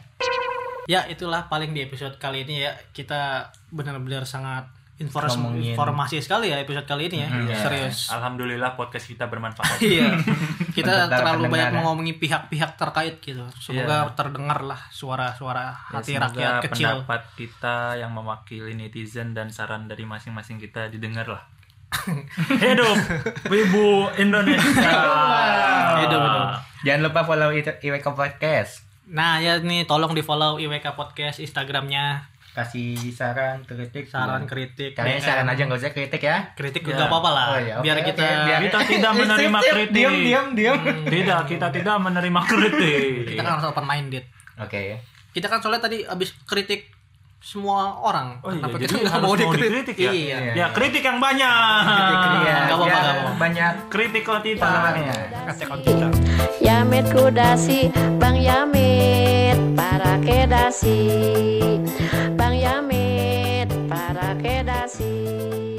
Speaker 1: Ya, itulah paling di episode kali ini ya. Kita benar-benar sangat inform-
Speaker 3: Ngomongin. Mm-hmm. Iya.
Speaker 1: informasi sekali ya episode kali ini ya.
Speaker 3: [laughs]
Speaker 1: Serius.
Speaker 2: Alhamdulillah podcast kita bermanfaat.
Speaker 1: Iya. Kita
Speaker 3: Pendengar-
Speaker 1: terlalu banyak
Speaker 3: pendengar.
Speaker 1: mengomongin pihak-pihak terkait gitu.
Speaker 3: Iya.
Speaker 1: Semoga terdengar lah suara-suara [laughs] hati
Speaker 2: Ya, semoga
Speaker 1: rakyat kecil.
Speaker 2: pendapat kita yang mewakili netizen dan saran dari masing-masing kita didengar
Speaker 1: [laughs]
Speaker 2: lah. Hidup Wibu Indonesia.
Speaker 1: [laughs] Ah. Hidup, hidup.
Speaker 3: Iya, Jangan lupa follow I- IWK Podcast.
Speaker 1: Nah ya nih tolong di follow IWK Podcast Instagramnya
Speaker 3: kasih saran kritik
Speaker 2: Iya.
Speaker 1: saran
Speaker 3: kritik
Speaker 1: kritik
Speaker 3: kalian
Speaker 1: DM.
Speaker 3: saran aja nggak usah kritik ya
Speaker 1: kritik
Speaker 2: Ya.
Speaker 1: juga apa-apa lah
Speaker 3: Oh, ya, oke,
Speaker 1: biar
Speaker 3: oke,
Speaker 1: kita
Speaker 3: biar-
Speaker 2: Kita tidak menerima
Speaker 3: [laughs] Sip, sip,
Speaker 2: kritik.
Speaker 3: diam diam diam
Speaker 1: Hmm.
Speaker 2: tidak kita tidak menerima kritik
Speaker 1: kita kan harus open minded
Speaker 3: oke
Speaker 1: kita kan soalnya tadi abis kritik semua orang
Speaker 2: Oh iya,
Speaker 1: Kenapa
Speaker 2: jadi
Speaker 1: nggak
Speaker 2: harus mau dikritik ya?
Speaker 1: iya
Speaker 3: Iya.
Speaker 2: ya kritik yang banyak
Speaker 3: Iya,
Speaker 1: Ah, nggak apa-apa,
Speaker 3: biar
Speaker 1: nggak apa-apa.
Speaker 3: banyak
Speaker 2: kritik otita
Speaker 3: followernya
Speaker 2: kritik otita
Speaker 4: Yamit kudasi, Bang Yamit, para kedasi, Bang Yamit, para kedasi.